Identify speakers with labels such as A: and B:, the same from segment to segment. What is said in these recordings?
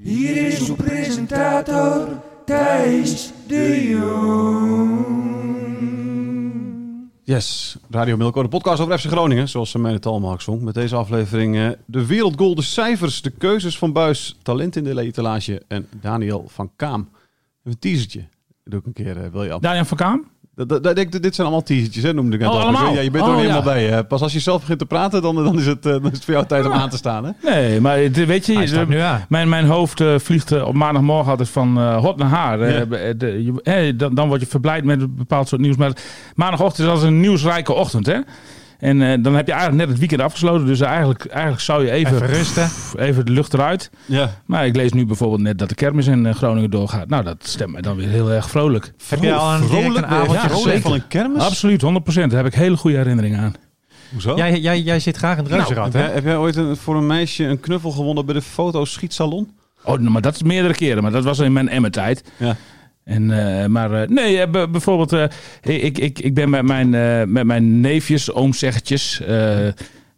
A: Hier is uw presentator Thijs de Jong.
B: Yes, Radio Milko, de podcast over FC Groningen, zoals ze mij de talmaak zong. Met deze aflevering eh, de wereldgoal, de cijfers, de keuzes van Buis, talent in de etalage en Daniel van Kaam. Even een teasertje. Dat doe ik een keer, eh, wil je af.
C: Daniel van Kaam?
B: Dat- dat- dat- dit- dit zijn allemaal teasertjes, hè, noemde ik net
C: Oh,
B: al.
C: allemaal?
B: Ja, je bent er
C: Oh,
B: nog helemaal
C: ja.
B: bij. hè. Pas als je zelf begint te praten, dan, dan, is, het, eh, dan is het voor jou tijd om aan te staan. Hè?
C: Nee, maar het- weet je,
D: Hij staat
C: eh,
D: nu aan.
C: Mijn, mijn hoofd eh, vliegt eh, op maandagmorgen altijd van eh, hot naar haar. Eh,
B: Ja.
C: be- de- je- hè, dan, dan word je verblijd met een bepaald soort nieuws. Maar maandagochtend is altijd een nieuwsrijke ochtend, hè? En eh, dan heb je eigenlijk net het weekend afgesloten. Dus eigenlijk, eigenlijk zou je even,
D: Even rusten.
C: pff, even de lucht eruit.
B: Ja.
C: Maar ik lees nu bijvoorbeeld net dat de kermis in eh, Groningen doorgaat. Nou, dat stemt mij dan weer heel erg vrolijk.
D: Heb je al een, direct een avondje
C: ja,
D: gezeten?
B: vrolijk van een kermis?
C: Absoluut, 100%. Daar heb ik hele goede herinneringen aan.
B: Hoezo?
D: Jij, jij, jij zit graag in het reuzenrad,
B: heb, jij,
D: hè?
B: heb jij ooit een, voor een meisje een knuffel gewonnen bij de fotoschietsalon?
C: Oh, nou, maar dat is meerdere keren. Maar dat was in mijn Emmer-tijd.
B: Ja.
C: En, eh, maar eh, nee, eh, b- bijvoorbeeld, eh, ik, ik, ik ben met mijn, eh, met mijn neefjes, oomzeggetjes, eh,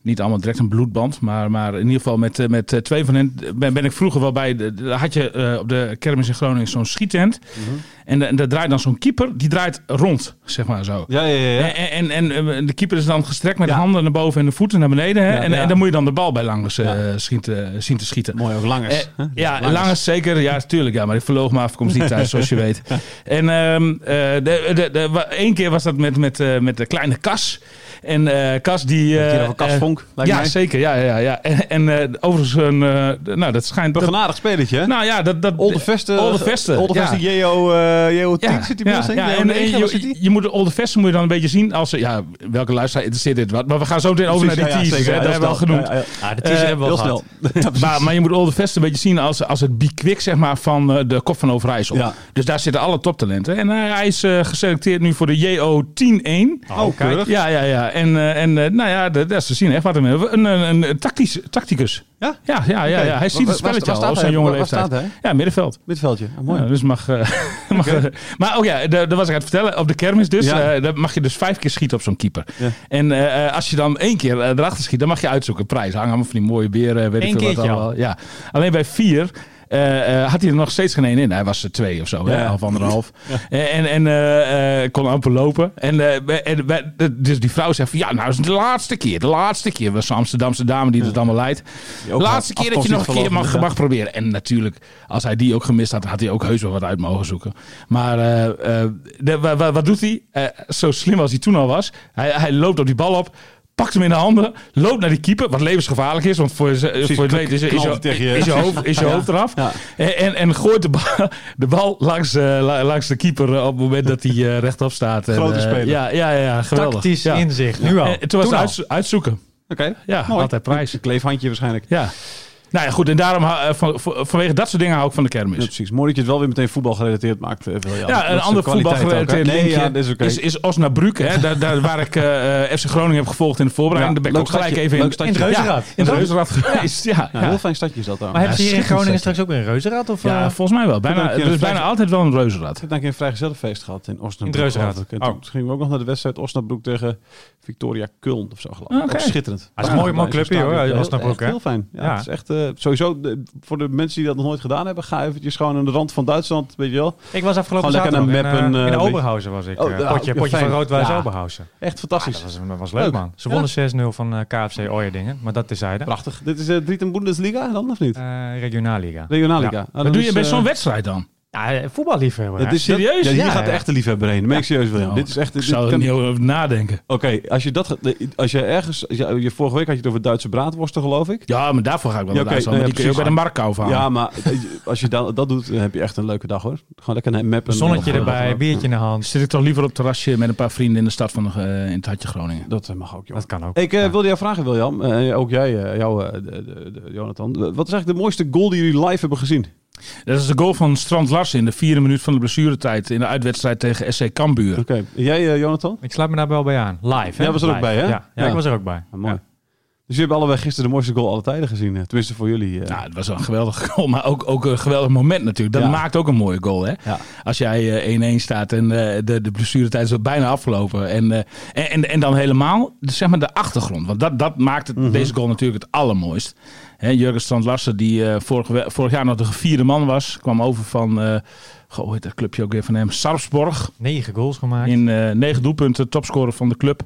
C: niet allemaal direct een bloedband, maar, maar in ieder geval met, eh, met eh, twee van hen ben, ben ik vroeger wel bij. de- de- Had je eh, op de kermis in Groningen zo'n schietent
B: Mhm.
C: en da- daar draait dan zo'n keeper, die draait rond, zeg maar zo.
B: Ja, ja, ja. ja.
C: En, en, en, eh, de keeper is dan gestrekt met
B: Ja.
C: de handen naar boven en de voeten naar beneden. Hè?
B: Ja,
C: en,
B: ja.
C: en dan moet je dan de bal bij langs eh,
B: Ja.
C: zien, te, zien te schieten.
B: Mooi, ook langers.
C: Eh,
B: hè?
C: ja, Langes. zeker. Ja, tuurlijk. Ja, maar ik verloog mijn afkomst niet thuis, zoals je weet. En ehm eh, de, de, de, wa- één keer was dat met, met, eh, met de kleine Kas. En eh, Kas die... eh,
B: Een keer over Cas
C: eh,
B: Vonk, lijkt
C: ja,
B: mij.
C: zeker. Ja, ja, ja. En, en eh, overigens, een, eh, d- nou, dat schijnt...
B: Een
C: Dat,
B: genadig spelletje, hè?
C: nou ja, dat... dat
B: Olde Veste.
C: Olde Veste,
B: Olde
C: ja.
B: Veste, JO, eh, JO 10
C: ja,
B: zit die
C: ja,
B: inmiddels
C: ja,
B: in.
C: en,
B: JO 9,
C: en
B: waar zit
C: je,
B: die?
C: je moet de Old Vest moet je dan een beetje zien als... Ja, welke luisteraar interesseert dit wat? Maar we gaan zo meteen over
B: Precies,
C: naar die
B: ja, ja,
C: teasers.
B: zeker,
C: hè,
B: heel
C: dat hebben we al
B: snel.
C: genoemd.
B: Ja, ja,
D: Ah, de teaser
C: Eh,
D: hebben we
B: Heel
D: al gehad.
B: snel. Ja, precies.
C: Maar, maar je moet Olde Vest een beetje zien als, als het Bikwik zeg maar, van eh, de kop van Overijssel.
B: Ja.
C: Dus daar zitten alle toptalenten. En hij- hij is eh, geselecteerd nu voor de JO 10-1.
B: Oh, keurig.
C: Ja, ja, ja. En, eh, en eh, nou ja, dat, dat is te zien. Echt wat een, eh, een, een, een tactisch, tacticus.
B: Ja?
C: Ja, ja, ja,
B: Oké.
C: ja. Hij ziet
B: Waar-
C: het spelletje
B: waar- waar
C: al
B: staat
C: op
B: hij?
C: zijn jonge
B: Waar- waar
C: leeftijd.
B: staat hij?
C: Ja, middenveld.
B: Middenveldje. Ah, mooi.
C: Ja, dus mag... eh, mag eh, maar ook ja, daar daar was ik aan het vertellen. Op de kermis dus,
B: Ja.
C: eh, daar mag je dus vijf keer schieten op zo'n keeper.
B: Ja.
C: En eh, eh, als je dan één keer eh, erachter schiet, dan mag je uitzoeken. Prijs hangen allemaal van die mooie beren, weet
D: Eén
C: ik veel wat
D: keertje
C: allemaal. Ja. Alleen bij vier... eh, eh, had hij er nog steeds geen één in. Hij was er twee of zo, hè,
B: Ja.
C: of anderhalf. En, en eh, eh, kon amper lopen. En, eh, bij- en bij- dus die vrouw zegt van... Ja, nou is het de laatste keer. De laatste keer was de Amsterdamse dame die het allemaal leidt.
B: Die ook
C: laatste
B: wel
C: keer dat je nog een keer mag,
B: afkomstig
C: mag proberen. En natuurlijk, als hij die ook gemist had, had hij ook heus wel wat uit mogen zoeken. Maar eh, eh, de- wa- wa- wat doet hij? Eh, zo slim als hij toen al was. Hij, hij loopt op die bal op. Pakt hem in de handen, loopt naar die keeper, wat levensgevallig is, want voor, ze- voor het weten is, is,
B: knalt
C: je-
B: hij tegen je.
C: is je hoofd, is je hoofd eraf.
B: Ja.
C: En, en, en gooit de bal, de bal langs, eh, la- langs de keeper eh, op het moment dat hij eh, rechtop staat. En,
B: Grote
C: eh,
B: speler.
C: ja, ja, ja, geweldig.
D: Tactisch
C: ja.
D: inzicht, nu al.
C: En toen was het
D: al.
C: uitzo- uitzoeken.
B: Oké.
C: Ja,
B: Mooi.
C: altijd prijs.
B: Een kleefhandje waarschijnlijk.
C: Ja. Nou ja, goed. En daarom, hou- eh, van, van- vanwege dat soort dingen hou ik van de
B: Ja,
C: kermis.
B: precies. Mooi dat je het wel weer meteen voetbal gerelateerd maakt. eh, Wil je. Dat
C: Ja,
B: is
C: een
B: de
C: ander
B: kwaliteit
C: voetbalgerelateerd
B: ook, hè?
C: linkje
B: Nee, ja, dat is oké.
C: is, is Osnabrück. Hè? Daar, daar waar ik eh, eh, FC Groningen heb gevolgd in de voorbereiding.
B: Ja,
C: daar ben ik
B: leuk
C: ook gelijk
B: stadje,
C: even in,
B: leuk stadje.
C: in het
D: Ja,
C: Reuzenrad. in het Reuzenrad geweest. Ja,
B: Ja,
C: ja.
B: Nou, Heel fijn stadje is dat daar.
D: Maar hebben ze hier in
C: schitterend stadje.
D: Groningen straks ook weer een reuzenrad? Of,
C: Ja,
D: eh,
C: volgens mij wel.
B: Toen
C: Bijna,
B: heb je
C: er is
B: een Ah,
C: bijna
B: vijf-
C: altijd wel een Reuzenrad.
B: Ik heb een keer een vrijgezellenfeest gehad in Osnabrück.
D: In het Reuzenrad.
B: geloof ik. En Toen
D: Oh.
B: gingen we ook nog naar de wedstrijd Osnabrück tegen Victoria Köln of zo geloof ik.
C: Oké.
B: Ook Schitterend.
D: Ah, is een mooi- mooi clubje, hoor,
B: Heel-
D: Osnabrück,
B: echt
D: hè?
B: Heel fijn. Ja,
D: Ja.
B: het is echt eh, eh, sowieso, de- voor de mensen die dat nog nooit gedaan hebben, ga eventjes gewoon aan de rand van Duitsland, weet je wel.
D: Ik was afgelopen
B: Gewoon lekker
D: zaterdag
B: naar
D: in,
B: Meppen,
D: eh,
B: eh,
D: in
B: weet je.
D: Oberhausen was ik.
B: Oh,
D: eh,
B: ja,
D: potje
B: ja,
D: potje
B: fijn.
D: van Roodwijs
B: Ja.
D: Oberhausen.
B: Echt
D: Ah,
B: fantastisch.
D: dat, was, dat was
B: Leuk.
D: leuk, man. Ze wonnen 6-0 van eh, KFC Oyerdingen, maar dat terzijde.
B: Prachtig. Dit is eh Drieten Bundesliga dan, of niet?
D: Eh Regionalliga.
B: Regionalliga.
D: Ja.
B: Ah,
C: Wat
B: dan
C: doe je
B: is,
C: bij
B: eh,
C: zo'n wedstrijd dan?
D: Ja, eh, voetballiefhebber.
B: dat
D: hè.
B: is, dat-
C: Serieus?
B: ja, hier
D: Ja,
B: gaat de
D: ja.
B: echte liefhebber heen. Dat meen ik serieus, William.
C: Nou,
B: dit is echt...
C: Ik
B: dit
C: zou er
B: kan-
C: niet over nadenken.
B: Oké, als je dat, ge- als je ergens, als je, je- vorige week had je het over Duitse braadworsten, geloof ik.
C: Ja, maar daarvoor ga ik wel
B: Ja,
C: naar
B: oké,
C: Duitsland.
B: nee,
C: maar die kun je ook bij de
B: precies.
C: Markkou van.
B: Ja, maar als je dat, dat doet, dan heb je echt een leuke dag hoor. Gewoon lekker eh, mappen.
D: Zonnetje erbij, biertje in de hand.
C: Zit ik toch liever op het terrasje met een paar vrienden in de stad van eh, in het hartje Groningen.
B: Dat eh, mag ook, joh.
D: Dat kan ook.
B: Ik eh,
D: Ja.
B: wilde jou vragen, William. eh, ook jij, eh, jou, eh, de- de- de- Jonathan. Wat is eigenlijk de mooiste goal die jullie live hebben gezien? Oké.
C: Dat is de goal van Strand Larsen in de vierde minuut van de blessuretijd in de uitwedstrijd tegen SC Cambuur.
B: En Jij, eh, Jonathan?
D: Ik sluit me daar wel bij aan. Live, hè?
B: Jij was er ook
D: Live.
B: bij, hè?
D: Ja, ja,
B: Ja.
D: ik was er ook bij.
B: Ah, mooi. Dus jullie hebben allebei gisteren de mooiste goal alle tijden gezien. eh, Tenminste voor jullie. eh.
C: Nou, het was een geweldige goal, maar ook, ook een geweldig moment natuurlijk. Dat
B: Ja.
C: maakt ook een mooie goal, hè?
B: Ja.
C: Als jij eh, 1-1 staat en eh, de, de blessuretijd is al bijna afgelopen. En, eh, en, en, en dan helemaal de- zeg maar de achtergrond. Want dat, dat maakt het,
B: Mhm.
C: deze goal natuurlijk het allermooist. Hè, Jurgen Strand Larsen, die eh, vorige we- vorig jaar nog de gevierde man was, kwam over van... eh goh, hoe heet dat clubje ook weer van hem? Sarpsborg.
D: Negen goals gemaakt.
C: In eh negen doelpunten, topscorer van de club.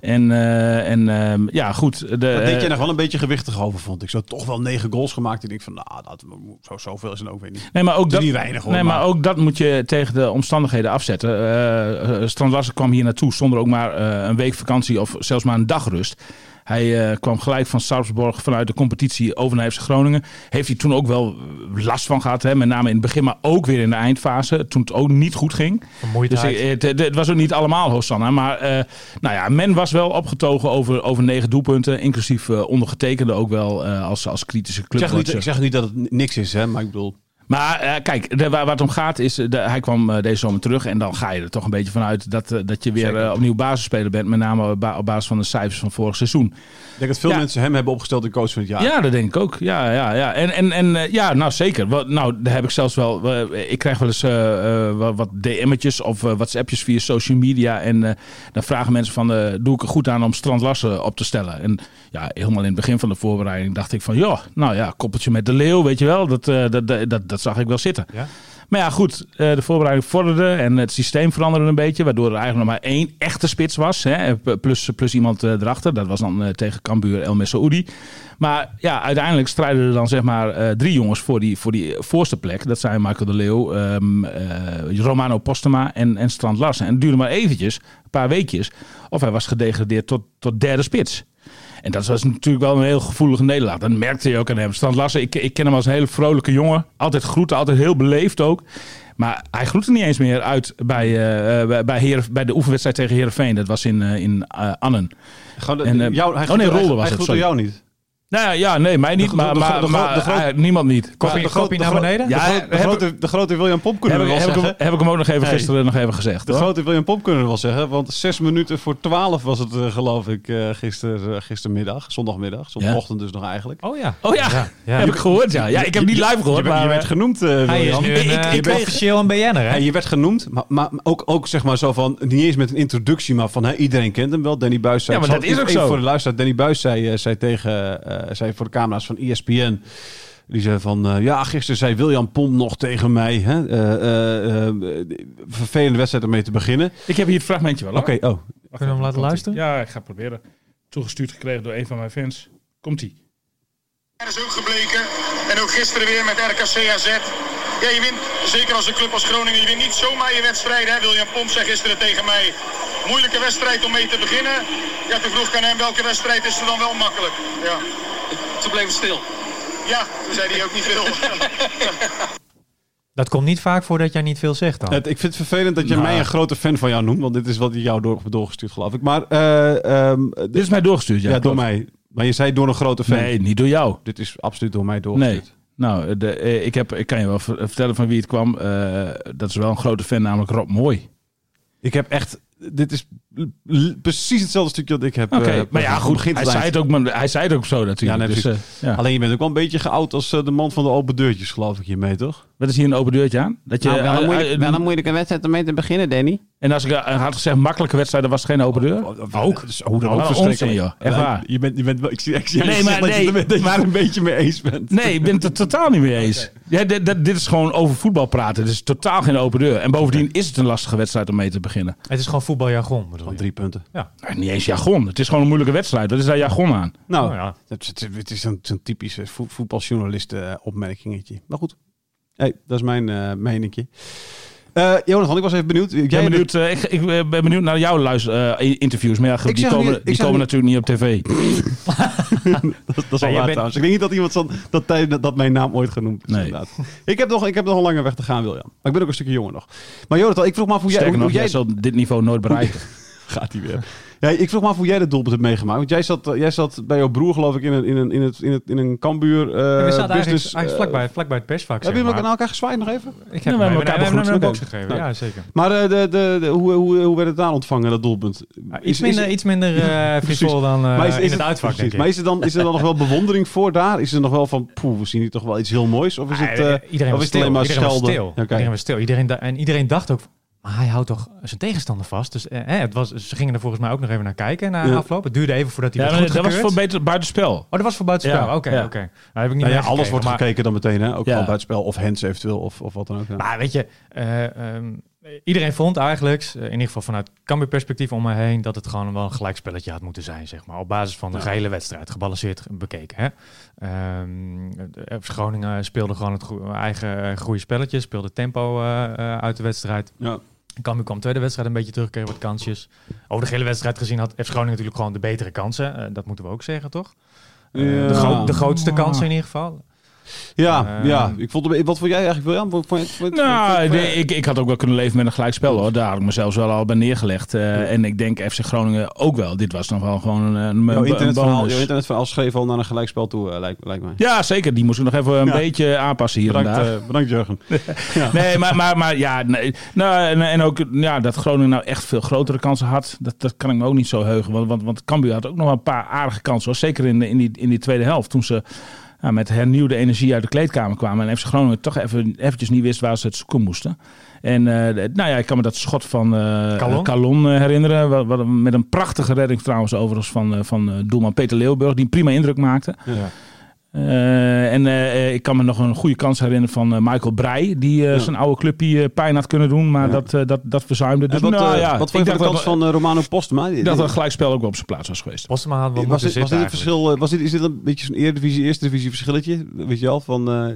C: En, eh, en ehm, ja, goed. De,
B: Daar deed
C: eh,
B: je nog wel een beetje gewichtig over, vond ik. Zo toch wel negen goals gemaakt. Ik denk van, nou, dat, zo, zoveel is het ook weer niet.
C: Nee, maar ook
B: is
C: dat,
B: niet weinig, hoor,
C: nee, maar
B: maar-
C: ook dat moet je tegen de omstandigheden afzetten. Eh, eh, Strand Larsen kwam hier naartoe zonder ook maar eh, een week vakantie of zelfs maar een dagrust. Hij eh, kwam gelijk van Sarpsborg vanuit de competitie over naar FC Groningen. Heeft hij toen ook wel last van gehad, hè? met name in het begin, maar ook weer in de eindfase. Toen het ook niet goed ging. Dus
D: Vermoeidheid.
C: ik- het, het- het was ook niet allemaal Hosanna. Maar eh, nou ja, men was wel opgetogen over, over negen doelpunten. Inclusief eh, ondergetekende ook wel eh, als, als kritische
B: Ik
C: club.
B: zeg, niet, ik zeg niet dat het niks is, hè, maar ik bedoel...
C: Maar eh, kijk, de- waar, waar het om gaat is, eh, de- hij kwam eh, deze zomer terug. En dan ga je er toch een beetje vanuit dat, eh, dat je weer
B: Zeker.
C: eh, opnieuw basisspeler bent. Met name ba- op basis van de cijfers van vorig seizoen.
B: Ik denk dat veel
C: Ja.
B: mensen hem hebben opgesteld de coach van het jaar.
C: Ja, dat denk ik ook. Ja, ja, ja. En, en, en eh, ja, nou zeker. Wat, nou, daar heb ik zelfs wel. eh, ik krijg wel eens eh, eh, wat- wat DM'tjes of eh, WhatsAppjes via social media. En eh, dan vragen mensen van, eh, doe ik er goed aan om Strand Larsen op te stellen? En ja, helemaal in het begin van de voorbereiding dacht ik van, ja, nou ja, koppeltje met de leeuw, weet je wel. Dat, eh, dat, dat, dat, dat zag ik wel zitten.
D: Ja.
C: Maar ja, goed, eh, de voorbereiding vorderde en het systeem veranderde een beetje. Waardoor er eigenlijk nog maar één echte spits was. Hè, p- plus, plus iemand eh, erachter. Dat was dan eh, tegen Cambuur El Messaoudi. Maar ja, uiteindelijk strijden er dan zeg maar eh, drie jongens voor die, voor die voorste plek. Dat zijn Michael de Leeuw, ehm, eh, Romano Postema en, en Strand Larsen. En het duurde maar eventjes, een paar weekjes. Of hij was gedegradeerd tot, tot derde spits. En dat was natuurlijk wel een heel gevoelige nederlaag. Dat merkte je ook aan hem. Strand Larsen, ik, ik ken hem als een hele vrolijke jongen. Altijd groeten, altijd heel beleefd ook. Maar hij groette niet eens meer uit bij, eh, eh, bij- bij, Heer, bij de oefenwedstrijd tegen Heerenveen. Dat was in, eh, in eh, Annen.
B: Gewoon de-
C: En, eh,
B: jou, hij
C: oh nee,
B: hij-
C: Rolde was
B: hij
C: het,
B: groet
C: sorry.
B: door jou niet.
C: Nou ja, ja, nee, mij niet.
B: De-
C: maar
B: de-
C: maar,
B: de- de-
C: maar
B: de- de-
C: eh, niemand niet.
D: Koffie-
B: Maar de grote-
D: koffie naar
B: de gro-
D: beneden?
B: De,
C: Ja,
B: gro- de
C: heb-
B: grote, de grote William Pomp kunnen
C: Heb
B: we
C: ik,
B: wel
C: heb, ik
B: zeggen.
C: hem, heb ik hem ook nog even
B: Hey.
C: gisteren nog even gezegd.
B: de
C: hoor.
B: grote William Pomp kunnen we wel zeggen. Want zes minuten voor twaalf was het, eh, geloof ik, eh gister, eh, gistermiddag. Zondagmiddag. Zondagochtend dus nog eigenlijk.
D: Oh ja.
C: Oh ja,
D: ja.
C: heb ik gehoord. Ja, ja ik heb niet live gehoord.
B: Je, werd- je
C: maar,
B: werd
C: eh,
B: genoemd, eh,
D: Hij is
B: William.
D: nu een,
C: Ik-
D: eh,
C: ik weet-
D: officieel een BN'er,
B: Ja,
D: hè?
B: je werd genoemd, maar, maar ook, ook zeg maar zo van, niet eens met een introductie, maar van hè, iedereen kent hem wel. Danny Buis zei,
C: Ja, maar
B: ik zal
C: dat
B: het
C: is ook
B: even
C: zo.
B: voor de luisteraar, Danny Buis zei, eh, zei tegen, eh, zei voor de camera's van ESPN, die zei van, eh, ja, gisteren zei William Pomp nog tegen mij, hè, eh, eh, eh, vervelende wedstrijd om mee te beginnen.
C: ik heb hier het fragmentje wel. hoor.
B: Oké, oh,
D: Kunnen we hem laten luisteren?
C: Ja, ik ga het proberen. Toegestuurd gekregen door een van mijn fans. Komt-ie.
E: Dat is ook gebleken. En ook gisteren weer met RKC AZ. Ja, je wint, zeker als een club als Groningen, je wint niet zomaar je wedstrijd. Hè? William Pomp zei gisteren tegen mij, moeilijke wedstrijd om mee te beginnen. Ja, toen vroeg ik aan hem, welke wedstrijd is er dan wel makkelijk? Ja, toen bleef het stil. Ja, toen zei hij ook niet veel.
D: Dat komt niet vaak voor dat jij niet veel zegt dan.
B: Het- ik vind het vervelend dat je
C: Nou.
B: mij een grote fan van jou noemt, want dit is wat jou door, doorgestuurd, geloof ik. Maar, eh, ehm,
C: Dit is mij doorgestuurd. Ja,
B: ja, door
C: klopt.
B: mij. Maar je zei door een grote fan.
C: Nee, niet door jou.
B: Dit is absoluut door mij doorgestuurd.
C: Nee. Nou, de, eh, ik, heb, ik kan je wel ver- vertellen van wie het kwam. Eh, dat is wel een grote fan, namelijk Rob Mooi.
B: Ik heb echt. Dit is l- precies hetzelfde stukje dat ik heb.
C: Oké,
B: eh,
C: maar ja,
B: van
C: goed.
B: begin tot
C: Hij zei,
B: eind.
C: het ook, maar hij zei het ook zo
B: Ja,
C: natuurlijk.
B: nee,
C: dus,
B: precies.
C: eh, ja.
B: Alleen je bent ook wel een beetje geoud als eh, de man van de open deurtjes, geloof ik hiermee, toch?
C: Wat is hier een open deurtje aan? Dat je,
F: Nou, wel,
C: eh,
F: een
C: eh,
F: moeilijk- wel een moeilijke wedstrijd om mee te beginnen, Danny.
C: En als ik eh, had gezegd makkelijke wedstrijd, dan was het geen open deur?
B: Oh, Ook. Dus Hoe dan ook
C: Wat een
B: verschrikkelijk.
C: Nou, onzin, joh. Echt
B: Ja,
C: waar.
B: Je bent, je bent, wel- ik zie, ik zie
C: Nee,
B: nee,
C: maar
B: maar, dat je
C: nee.
B: het er maar een beetje mee eens bent.
C: Nee, ik ben het er totaal niet mee eens. Ja, dit, dit- dit is gewoon over voetbal praten. Dit is totaal geen open deur. En bovendien is het een lastige wedstrijd om mee te beginnen.
D: Het is gewoon voetbaljargon. bedoel
B: Van
D: je.
B: drie punten.
C: Nou, niet eens jargon. Het is gewoon een moeilijke wedstrijd. Wat is daar jargon aan?
B: Nou,
D: Oh, ja.
B: het, het- het is een, zo'n typische vo- voetbaljournalisten eh, opmerkingetje. Maar goed, hey, dat is mijn eh meninkje. Eh Jonathan, ik was even benieuwd. Jij
C: Ik ben, benieuwd, eh, ik, ik eh, ben benieuwd naar jouw luister, eh, interviews. Maar ja, goed,
B: Ik
C: die
B: zeg
C: komen,
B: niet- ik
C: die
B: zeg
C: komen
B: niet-
C: natuurlijk niet op tv.
B: Dat, dat is al waar
D: jij bent-
B: trouwens. Ik denk niet dat iemand van, dat, tij- dat mijn naam ooit genoemd is.
C: Nee.
B: inderdaad. Ik, heb nog, ik heb nog een lange weg te gaan, William. Maar ik ben ook een stukje jonger nog. Maar Jonathan, ik vroeg me af hoe jij...
C: Sterker
B: hoe-
C: nog,
B: hoe
C: jij
B: jij
C: zal dit niveau nooit bereiken.
B: Gaat hij weer. Ja, ik vroeg me af hoe jij dat doelpunt hebt meegemaakt. Want jij zat, eh, jij zat bij jouw broer, geloof ik, in een, in een, in het, in het, in een kambuur eh
D: Ja, we zaten eigenlijk,
B: business...
D: eigenlijk
B: eh,
D: vlakbij, vlakbij het persvak.
B: Hebben jullie
D: zeg
B: ook aan
D: maar.
B: elkaar gezwaaid nog even?
D: Ik
C: Ja,
D: heb
C: we
D: hem
C: hebben
D: we
C: elkaar
D: hebben hem
C: begroet.
D: een box
B: Oké.
D: gegeven.
B: Nou.
D: Ja, zeker.
B: Maar eh, de, de, de, hoe, hoe, hoe werd het daar ontvangen, dat doelpunt?
D: Maar iets minder, iets minder eh, frivol dan eh, in het uitvak,
B: precies.
D: denk ik.
B: Maar is er, dan, is er dan nog wel bewondering voor daar? Is er nog wel van, poeh, we zien hier toch wel iets heel moois? Of is
D: Ah,
B: het,
D: eh,
B: eh,
D: iedereen
B: of
D: was
B: is het alleen
D: stil.
B: maar
D: Iedereen was
B: schelden?
D: stil.
B: Oké.
D: Iedereen was stil. Iedereen da- en iedereen dacht ook, maar hij houdt toch zijn tegenstander vast. Dus eh, hè, het was, ze gingen er volgens mij ook nog even naar kijken na
B: Ja.
D: afloop. Het duurde even voordat hij
C: Ja,
D: werd
C: maar dat was
D: goedgekeurd.
C: voor beter buitenspel.
D: Oh, dat was voor buitenspel.
C: Ja,
D: Oké,
C: ja.
D: oké. Nou, heb ik niet
B: Nou ja,
D: meegekeken,
B: alles wordt
D: maar-
B: gekeken dan meteen, hè? Ook
C: Ja.
B: van buitenspel of hands eventueel of, of wat dan ook. ja.
D: Maar weet je, eh, ehm, iedereen vond eigenlijk, eh, in ieder geval vanuit Cambuur perspectief om me heen, dat het gewoon wel een gelijkspelletje had moeten zijn, zeg maar. Op basis van de
B: Ja.
D: gehele wedstrijd, gebalanceerd bekeken. Hè? Ehm, de FC Groningen speelde gewoon het goe- eigen eh, goede spelletje, speelde tempo eh, eh, uit de wedstrijd.
B: Ja.
D: Cambuur kwam tweede wedstrijd een beetje terug, kreeg wat kansjes. Over de gele wedstrijd gezien had FC Groningen natuurlijk gewoon de betere kansen. Eh, dat moeten we ook zeggen, toch? Eh,
B: Ja.
D: de, gro- de grootste kansen in ieder geval.
B: Ja,
D: Eh,
B: ja. Ik vond, het- wat vond jij eigenlijk, William? Vond, vond, vond,
C: Nou,
B: vond-
C: nee, ik, ik had ook wel kunnen leven met een gelijkspel hoor. Daar had ik mezelf wel al bij neergelegd. Eh, En ik denk FC Groningen ook wel. Dit was nog wel gewoon een, een,
B: jouw
C: een
B: internetverhaal,
C: bonus.
B: jouw internetverhaal schreef al naar een gelijkspel toe, eh, lijkt, lijkt mij.
C: Ja, zeker. Die moesten we nog even een
B: Ja.
C: beetje aanpassen hier en
B: Bedankt,
C: daar. Dus
B: eh, bedankt, Jurgen.
C: Nee, maar, maar, maar ja. Nee. Nou, en, en ook ja, dat Groningen nou echt veel grotere kansen had. Dat, dat kan ik me ook niet zo heugen. Want, want, want Cambuur had ook nog wel een paar aardige kansen. Hoor. Zeker in, de- in, die, in die tweede helft. Toen ze ja, met hernieuwde energie uit de kleedkamer kwamen. En FC Groningen toch even, eventjes niet wist waar ze het zoeken moesten. En eh, nou ja, ik kan me dat schot van eh
D: Calon?
C: Calon, eh, herinneren. Wat, wat, een- met een prachtige redding trouwens overigens van, eh, van eh, doelman Peter Leeuwburg. Die een prima indruk maakte.
B: Ja.
C: Eh, en eh, ik kan me nog een goede kans herinneren van eh, Michael Breij. Die eh,
B: Ja.
C: zijn oude clubje eh, pijn had kunnen doen. Maar
B: Ja.
C: dat, eh, dat, dat verzuimde. Dus
B: En wat,
C: nou,
B: eh,
C: ja,
B: wat
C: ik
B: vond je
C: dacht
B: van de kans
C: dat,
B: van eh, Romano Postma? Die-
C: Ik dacht dat het gelijkspel ook wel op zijn plaats was geweest.
D: Postema had wel
B: Was
D: moeten
B: dit, was
D: zitten
B: dit het
D: eigenlijk.
B: verschil? eh, Was dit, is dit een beetje zo'n Eredivisie, Eerste Divisie verschilletje? Weet je wel? Van, eh,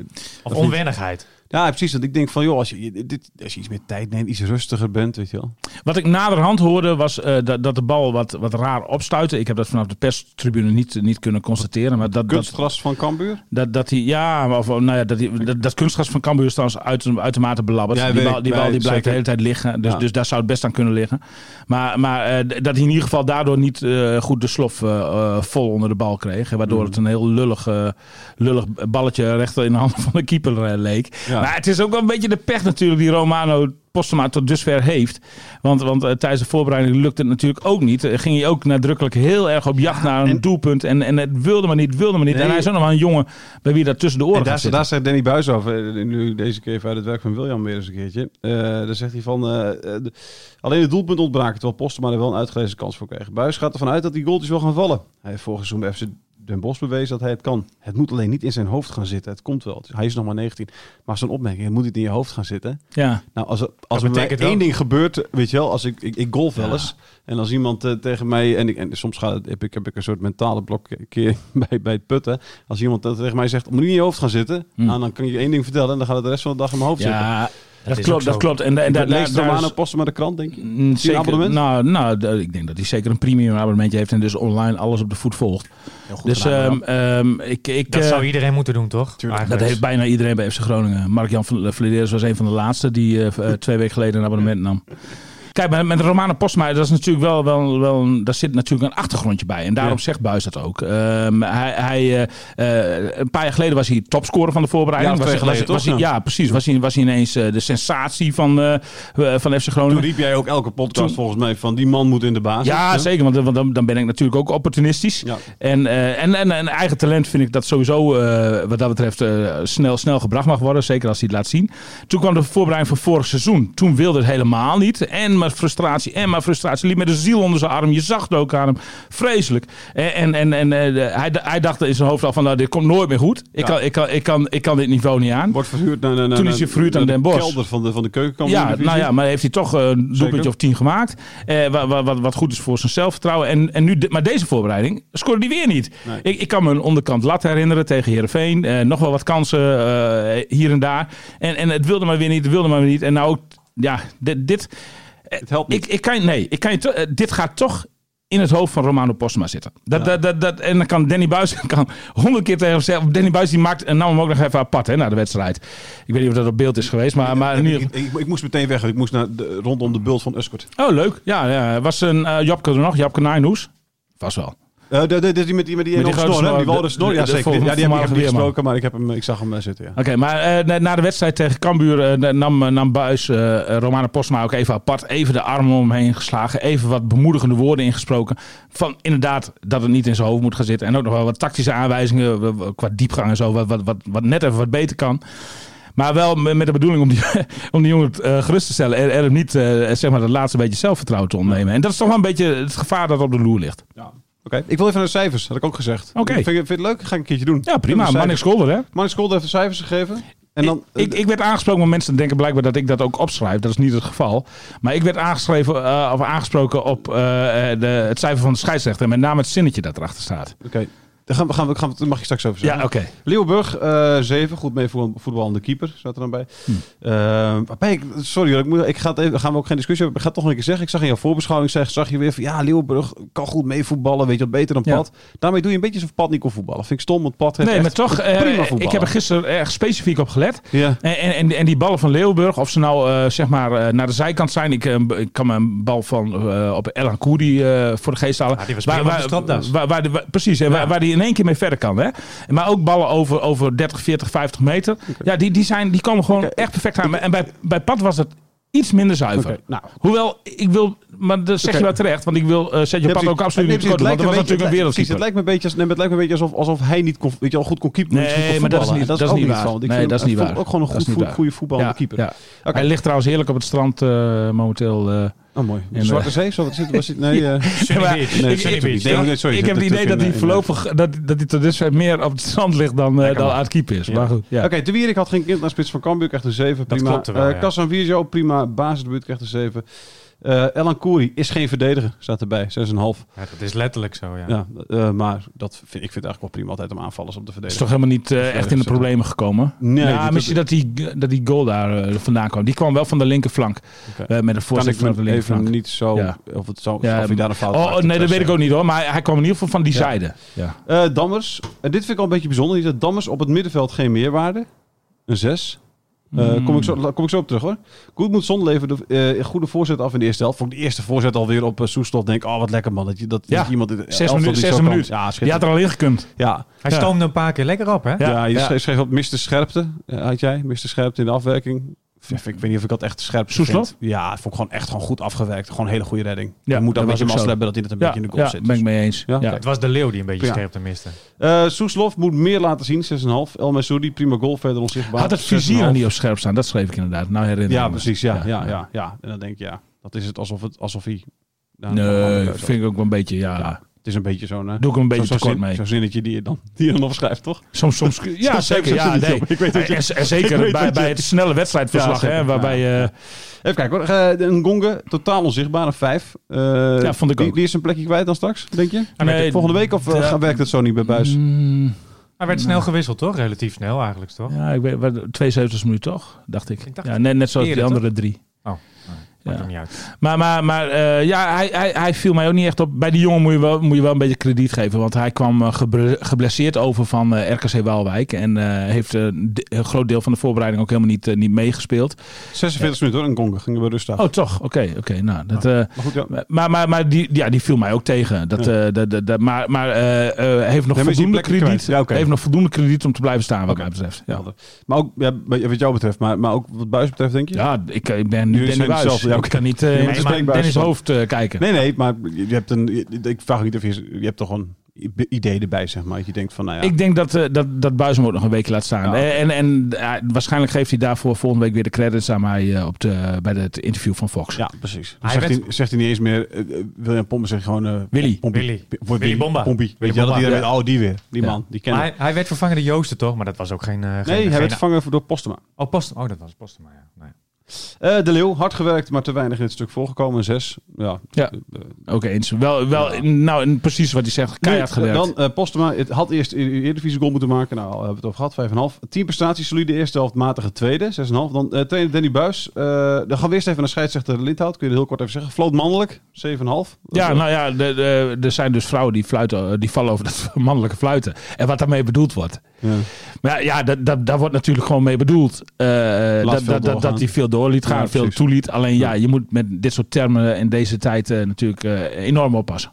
D: Of onwennigheid.
B: ja, precies. Want ik denk van, joh, als je, je- dit, als je iets meer tijd neemt, iets rustiger bent, weet je wel.
C: Wat ik naderhand hoorde was eh, dat, dat de bal wat, wat raar opstuitte. Ik heb dat vanaf de perstribune niet, niet kunnen constateren. Maar dat, dat,
B: Kunstgras van Cambuur?
C: dat, dat hij, ja, maar of, nou ja, dat, hij, dat, dat kunstgras van Cambuur is trouwens uit, uitermate belabberd.
B: Ja,
C: die
B: weet
C: bal,
B: ik,
C: die, bal
B: weet
C: die
B: ik,
C: blijft de hele
B: zeker.
C: tijd liggen. Dus,
B: Ja.
C: dus daar zou het best aan kunnen liggen. Maar, maar eh, d- dat hij in ieder geval daardoor niet eh, goed de slof eh, eh, vol onder de bal kreeg. hè,
B: Mm.
C: Waardoor het een heel lullig, eh, lullig balletje rechter in de handen van de keeper eh, leek.
B: Ja.
C: Maar het is ook wel een beetje de pech natuurlijk die Romano Postema tot dusver heeft. Want, want eh, tijdens de voorbereiding lukte het natuurlijk ook niet. Eh, ging hij ook nadrukkelijk heel erg op jacht naar een doelpunt. En, en het wilde maar niet, wilde maar niet. En
B: Nee.
C: hij is ook nog wel een jongen bij wie dat tussen de oren
B: En daar,
C: gaat
B: daar zegt
C: zitten.
B: Danny Buis over, eh, nu deze keer even uit het werk van William weer eens een keertje. Eh, daar zegt hij van, eh, eh, de- alleen het doelpunt ontbraken, terwijl Postema er wel een uitgelezen kans voor kreeg. Buis gaat ervan uit dat die goaltjes wel gaan vallen. Hij heeft vorig seizoen bij FC Den Bosch bewezen dat hij het kan. Het moet alleen niet in zijn hoofd gaan zitten. Het komt wel. Het is- Hij is nog maar 19. Maar zo'n opmerking, het moet niet in je hoofd gaan zitten.
C: Ja.
B: Nou, als er, als er bij mij
D: betekent wel-
B: één ding gebeurt, weet je wel, als ik, ik, ik golf wel eens. En als iemand eh, tegen mij, en, ik, en soms ga, heb, ik, heb ik een soort mentale blokkering bij, bij het putten. Als iemand dat tegen mij zegt, moet niet in je hoofd gaan zitten.
C: Hmm.
B: Nou, dan kan ik je één ding vertellen en dan gaat het de rest van de dag in mijn hoofd zitten.
C: Ja, dat
D: is ook
C: klopt,
D: zo.
C: dat klopt. En, da- en da-
B: En leest
C: daar- daar
B: Romano
C: is-
B: Posten maar de krant, denk je?
C: Mm, zeker,
B: abonnement?
C: Nou, nou, d- ik denk dat hij zeker een premium abonnementje heeft en dus online alles op de voet volgt. dus ehm, ehm, ik, ik,
D: Dat
C: eh,
D: zou iedereen moeten doen, toch?
C: dat
D: Eigenlijk.
C: heeft bijna iedereen bij FC Groningen. Mark-Jan Flederis was een van de laatste die eh, v- eh, twee weken geleden een abonnement nam. Kijk, met, met Romane Postma, dat is natuurlijk wel, wel, wel een, daar zit natuurlijk een achtergrondje bij. En daarom zegt Buis dat ook. Ehm, hij, hij, eh, eh, een paar jaar geleden was hij topscorer van de voorbereiding.
B: Ja,
C: was,
B: twee
C: hij- was,
B: geleden,
C: was
B: toch?
C: hij- ja, precies. Was hij, was hij ineens eh, de sensatie van, eh, eh, van FC Groningen.
B: Toen riep jij ook elke podcast volgens mij van die man moet in de basis.
C: Ja,
B: Hè?
C: zeker. Want, want dan, dan ben ik natuurlijk ook opportunistisch.
B: Ja.
C: En, eh, en, en, en eigen talent vind ik dat sowieso eh, wat dat betreft eh, snel, snel gebracht mag worden. Zeker als hij het laat zien. Toen kwam de voorbereiding van vorig seizoen. Toen wilde het helemaal niet. En maar frustratie, en maar frustratie. Liep met de ziel onder zijn arm. Je zag het ook aan hem. Vreselijk. En, en, en, en eh, de- hij, hij dacht in zijn hoofd al van nou, dit komt nooit meer goed.
B: Ja.
C: Ik, kan, ik, kan, ik, kan, ik kan dit niveau niet aan.
B: Wordt verhuurd naar, naar, naar,
C: Toen is hij verhuurd
B: naar
C: aan Den
B: de
C: Bosch.
B: kelder van de, van de keukenkamer.
C: Ja, nou ja, maar heeft hij toch eh, een doelpuntje
B: Zeker.
C: of tien gemaakt. Eh, wa- wa- wat, wat goed is voor zijn zelfvertrouwen. En, en nu, de- maar deze voorbereiding scoorde hij weer niet.
B: Nee.
C: Ik, ik kan me een onderkant lat herinneren tegen Herenveen. nog wel wat kansen eh, hier en daar. En, en het wilde maar weer niet, het wilde maar weer niet. En nou, ook, ja, dit. dit eh,
B: Het helpt niet.
C: ik, ik kan, nee, ik kan je to- eh, dit gaat toch in het hoofd van Romano Postma zitten. Dat, dat, dat, dat, en dan kan Danny Buis kan honderd keer tegen hem zeggen. Danny Buis die maakt en nam hem ook nog even apart hè, na de wedstrijd. Ik weet niet of dat op beeld is geweest, maar, maar in ieder geval-
B: ik, ik, ik moest meteen weg. Ik moest naar de, rondom de bult van Uskert.
C: Oh, leuk. Ja, ja. was een eh, Japke er nog? Japke Nijnhoes? Was wel.
B: Eh dat is die met die, met die,
C: Met die
B: enorme
C: grote
B: snor, hè?
C: snor,
B: Die
C: de-
B: walrus snor.
C: de-
B: Ja,
C: de
B: zeker.
C: voor-
B: Ja, die heb ik
C: voormalige
B: niet
C: weerman.
B: gesproken, maar ik, heb hem, ik zag hem eh, zitten, ja.
C: Oké, maar eh, na- na de wedstrijd tegen Cambuur eh, na- nam, eh, nam Buis eh, eh, Romane Postma ook even apart. Even de armen omheen geslagen. Even wat bemoedigende woorden ingesproken. Van inderdaad dat het niet in zijn hoofd moet gaan zitten. En ook nog wel wat tactische aanwijzingen w- w- qua diepgang en zo. Wat, wat, wat, wat net even wat beter kan. Maar wel me- met de bedoeling om die, om die jongen eh, gerust te stellen. En, en hem niet eh, zeg maar, dat laatste beetje zelfvertrouwen te ontnemen. En dat is toch wel een beetje het gevaar dat op de loer ligt.
B: Ja. Oké, ik wil even naar de cijfers. Had ik ook gezegd.
C: Oké.
B: Vind, je- vind je het leuk? Ga ik een keertje doen.
C: Ja, dus prima.
B: Man
C: Manning Scholder, hè?
B: Scholder heeft de cijfers gegeven. En dan,
C: ik, ik, ik werd aangesproken, maar mensen denken blijkbaar dat ik dat ook opschrijf. Dat is niet het geval. Maar ik werd aangeschreven, eh, of aangesproken op eh, eh, de, het cijfer van de scheidsrechter. En met name het zinnetje dat erachter staat.
B: Oké. Dan gaan we, gaan we, gaan we, daar mag je straks over zeggen.
C: Ja, oké.
B: Leeuwburg, eh 7. Goed mee voetbal, voetbal aan de keeper, staat er dan bij.
C: Hm.
B: Eh, waarbij ik, sorry, hoor, ik, moet, ik ga het even, daar gaan we ook geen discussie hebben. Ik ga het toch nog een keer zeggen. Ik zag in jouw voorbeschouwing, zeg, zag je weer van... Ja, Leeuwburg kan goed mee voetballen, weet je wat, beter dan
C: Ja.
B: Pat. Daarmee doe je een beetje alsof Pat niet kon voetballen. Vind ik stom, want Pat heeft
C: Nee, maar
B: echt
C: toch, eh,
B: prima voetballen.
C: ik heb er gisteren erg specifiek op gelet.
B: Ja.
C: En, en, en, en die ballen van Leeuwburg, of ze nou eh, zeg maar eh, naar de zijkant zijn. Ik, eh, ik kan me een bal van eh, op Elan Koudi voor de geest halen.
B: Ah,
D: Ja, die was prima op de stropdas.
C: waar, waar, de- waar- precies, hè, waar, waar die in één keer mee verder kan. Hè? Maar ook ballen over, over 30, 40, 50 meter. Ja, die, die, zijn, die komen gewoon echt perfect aan. En bij, bij Pat was het iets minder zuiver.
B: Oké, nou.
C: Hoewel, ik wil, maar dat zeg
B: Oké.
C: je wel terecht, want ik wil eh Sergio
B: Ja,
C: Pat
B: precies.
C: ook absoluut
B: Nee,
C: niet tekort
B: precies, het
C: doen, want dat
B: lijkt
C: was
B: een
C: natuurlijk een
B: beetje- Precies, het
C: wereldkeeper.
B: lijkt me een beetje, als- nee, maar het lijkt me een beetje alsof, alsof hij niet kon, weet je, al goed kon keeper.
C: Nee,
B: niet goed kon
C: maar dat is
B: voetballen.
C: niet, dat is
B: ook
C: niet waar.
B: zo, want ik
C: nee,
B: vind
C: dat is niet
B: hem
C: waar.
B: Ook gewoon een
C: Dat is
B: goed,
C: niet
B: voet-
C: waar.
B: goede voetballende
C: Ja,
B: keeper.
C: ja.
B: Oké.
C: Hij ligt trouwens heerlijk op het strand eh, momenteel. eh.
B: Oh, mooi.
C: En,
B: Zwarte Zee, zo wat zit, was het? Nee, eh,
C: Maar-
D: Sunny Beach.
B: nee,
C: ik-
B: Sunny
C: ik-
B: Beach. Nee, nee, sorry,
C: ik heb
B: dat-
C: het idee
B: dat
C: dat
B: in,
C: hij
B: eh,
C: voorlopig dat, dat hij tot dusver meer op het strand ligt dan, eh, dan aan het keeper is. Maar goed, ja.
B: Oké, De Wierik had geen kind naar spits van Cambuur, krijgt een 7.
D: Dat
B: Prima.
D: klopt wel,
B: Eh,
D: ja.
B: Casanvirio, prima. Basisdebuut krijgt een 7. Eh Elan Kouri is geen verdediger, staat erbij. 6,5.
D: Ja, dat is letterlijk zo, ja.
B: Ja, eh, maar dat vind, ik vind het eigenlijk wel prima altijd om aanvallers op te
C: Is
B: verdedigen.
C: toch helemaal niet eh, echt in de problemen gekomen?
B: Nee,
C: Ja,
B: dat-
C: misschien dat die, dat die goal daar eh, vandaan kwam. Die kwam wel van de linkerflank.
B: Oké.
C: Eh, met een
B: kan
C: voorzet
B: ik
C: van de
B: me even
C: linkerflank.
B: niet zo...
C: Ja.
B: Of, het zo
C: Ja,
B: of hij daar een fout
C: Oh,
B: maakt,
C: oh, nee, dat weet ik
B: zijn.
C: ook niet hoor. Maar hij kwam in ieder geval van die zijde. Ja.
B: Eh, Dammers. En dit vind ik al een beetje bijzonder. hier staat Dammers op het middenveld geen meerwaarde. Een 6.
C: Hmm.
B: kom, ik zo, la- kom ik zo op terug hoor. Goed moet zon leveren eh, een goede voorzet af in de eerste helft. Vond ik de eerste voorzet alweer op eh, Soestlof. Denk, oh wat lekker man. Dat, je, dat,
C: Ja.
B: dat iemand in de
C: Zes
B: elftal
C: minuten.
B: die
C: Zes
B: zo kan.
C: minuten.
B: Ja,
C: Die had
B: schitterend.
C: er al in gekund.
B: Ja,
D: Hij
C: Ja.
D: stoomde een paar keer lekker op, hè?
C: Ja.
B: ja, je
C: ja.
B: schreef- schreef op Mr. Scherpte. eh, had jij Mr. Scherpte in de afwerking. V- Ik weet niet of ik dat echt scherp
C: Soeslof?
B: vind. Ja, vond ik gewoon echt gewoon goed afgewerkt. Gewoon een hele goede redding.
C: Ja,
B: je moet
C: dat
B: dan een beetje
C: was ook
B: mazzel
C: zo.
B: hebben dat hij dat een
C: Ja,
B: beetje in de goal
C: ja
B: zit. Dus
C: ben ik mee eens.
B: Ja.
C: Ja.
D: Het was de leeuw die een beetje
B: Ja.
D: scherp te miste.
B: Eh Soeslof moet meer laten zien, 6,5. El Messoudi, prima goal, verder onzichtbaar.
C: Had het
B: 6,5.
C: Ah, vizier nog niet op scherp staan? Dat schreef ik inderdaad. Nou herinner ik
B: Ja,
C: me.
B: precies. Ja, ja, ja, ja, En dan denk je, ja, dat is het alsof, het, alsof hij... nou,
C: Nee,
B: dat
C: vind ik ook wel een beetje, ja.
B: Het is een beetje zo'n... eh,
C: Doe ik hem een beetje
B: zo- zo'n
C: tekort
B: zin-
C: mee.
B: Zo'n zinnetje die je dan, die je dan opschrijft, toch?
C: Soms, soms, ja,
B: Soms
C: zeker.
B: heb je
C: Ja,
B: het
C: nee.
B: niet op. Ik weet dat je-
C: en, en zeker
B: ik weet
C: bij,
B: dat je-
C: bij het snelle wedstrijdverslag,
B: Ja,
C: hè,
B: zeker.
C: waarbij... eh,
B: Even kijken hoor. Eh, Een Gonge, totaal onzichtbaar, een 5.
C: Ja, vond ik
B: die,
C: ook. Ah,
B: Die is een plekje kwijt dan straks, denk je?
C: nee,
B: Volgende week of eh,
C: Ja.
B: werkt het zo niet bij Buis?
C: mm,
D: Hij werd snel gewisseld, toch? Relatief snel eigenlijk, toch?
C: ja, ik weet, wat- 72 minuten toch, dacht ik.
D: Ik dacht
C: ja, net, net zoals die
D: eerder,
C: andere drie.
D: Oh. Maakt
C: Ja.
D: ook niet uit.
C: Maar, maar, maar eh, ja, hij, hij, hij viel mij ook niet echt op. Bij die jongen moet je wel, moet je wel een beetje krediet geven. Want hij kwam eh, gebre- geblesseerd over van eh, RKC Waalwijk. En eh, heeft eh, de- een groot deel van de voorbereiding ook helemaal niet, eh, niet meegespeeld.
B: 46 minuten hoor, in Congo gingen we rustig.
C: Oh, toch? Oké, oké. nou, dat, eh,
B: Maar goed, ja.
C: maar, maar, maar die, ja, die viel mij ook tegen. Dat, eh, dat, dat, dat- maar maar eh, eh, heeft, nog
B: Nee, maar is die
C: voldoende
B: plekken
C: krediet,
B: kwijt? Ja, oké.
C: heeft nog voldoende krediet om te blijven staan, wat mij betreft. Ja,
B: Helder. Maar ook ja, wat jou betreft, maar, maar ook wat Buis betreft, denk je?
C: ja ik, eh, ik ben
B: Nu
C: nu
B: zijn
C: Danny
B: we
C: Buis.
B: hetzelfde, ja,
C: Ik
B: oké.
C: kan niet eh,
B: Nee,
C: in
B: maar-
C: Dennis Hoofd eh, kijken.
B: Nee, nee, maar je hebt een. je- Ik vraag niet of je. Je hebt toch een idee erbij, zeg maar. Dat je denkt van, nou ja.
C: Ik denk dat, eh dat, dat Buijs hem ook nog een weekje laat staan. Eh,
B: Ja, oké.
C: En, en ja, waarschijnlijk geeft hij daarvoor volgende week weer de credits aan mij eh, op de, bij het interview van Fox.
B: ja, precies. Dan
D: Hij
B: zegt,
D: werd-
B: hij, zegt hij niet eens meer. eh, eh, William Pompen zegt gewoon. eh,
C: Willy.
B: Pompie.
D: Willy.
B: P- wordt
D: Willy Bomba.
B: Pompie. Weet
D: Willy
B: je wel dat
D: Bomba.
B: iedereen. weet, Oh, die weer. Die
C: Ja.
B: man. Die
D: Maar
B: kennen
D: hij, hij werd vervangen door Joosten, toch? Maar dat was ook geen... eh,
B: we. Nee,
D: geen,
B: hij werd
D: geen-
B: vervangen door Postema.
D: Oh, Postema. Oh, dat was Postema, ja. Nee.
B: Eh, de Leeuw, hard gewerkt, maar te weinig in het stuk voorgekomen. Een Zes. Ja.
C: Ja.
B: Eh,
C: Ook eens. Wel, wel nou, en precies wat hij zegt. Keihard
B: Nu,
C: gewerkt.
B: Dan eh Postema. Het had eerst in de Eredivisie goal moeten maken. Nou, hebben we het over gehad. 5,5. 10 prestaties. Solide eerste helft. Matige tweede. 6,5. Dan eh trainer Danny Buis. Eh, dan gaan we eerst even naar scheidsrechter Lindhout. Kun je er heel kort even zeggen. Floot mannelijk. 7,5.
C: Ja,
B: Eh,
C: nou ja, de- de- er zijn dus vrouwen die, fluiten, eh, die vallen over dat mannelijke fluiten. En wat daarmee bedoeld wordt.
B: ja.
C: Maar ja, dat, dat, daar wordt natuurlijk gewoon mee bedoeld. eh, dat,
B: veel
C: dat, dat,
B: doorgaan.
C: dat hij veel door liet gaan,
B: Ja,
C: veel
B: precies.
C: toeliet. Alleen ja, je moet met dit soort termen in deze tijd eh, natuurlijk eh, enorm oppassen.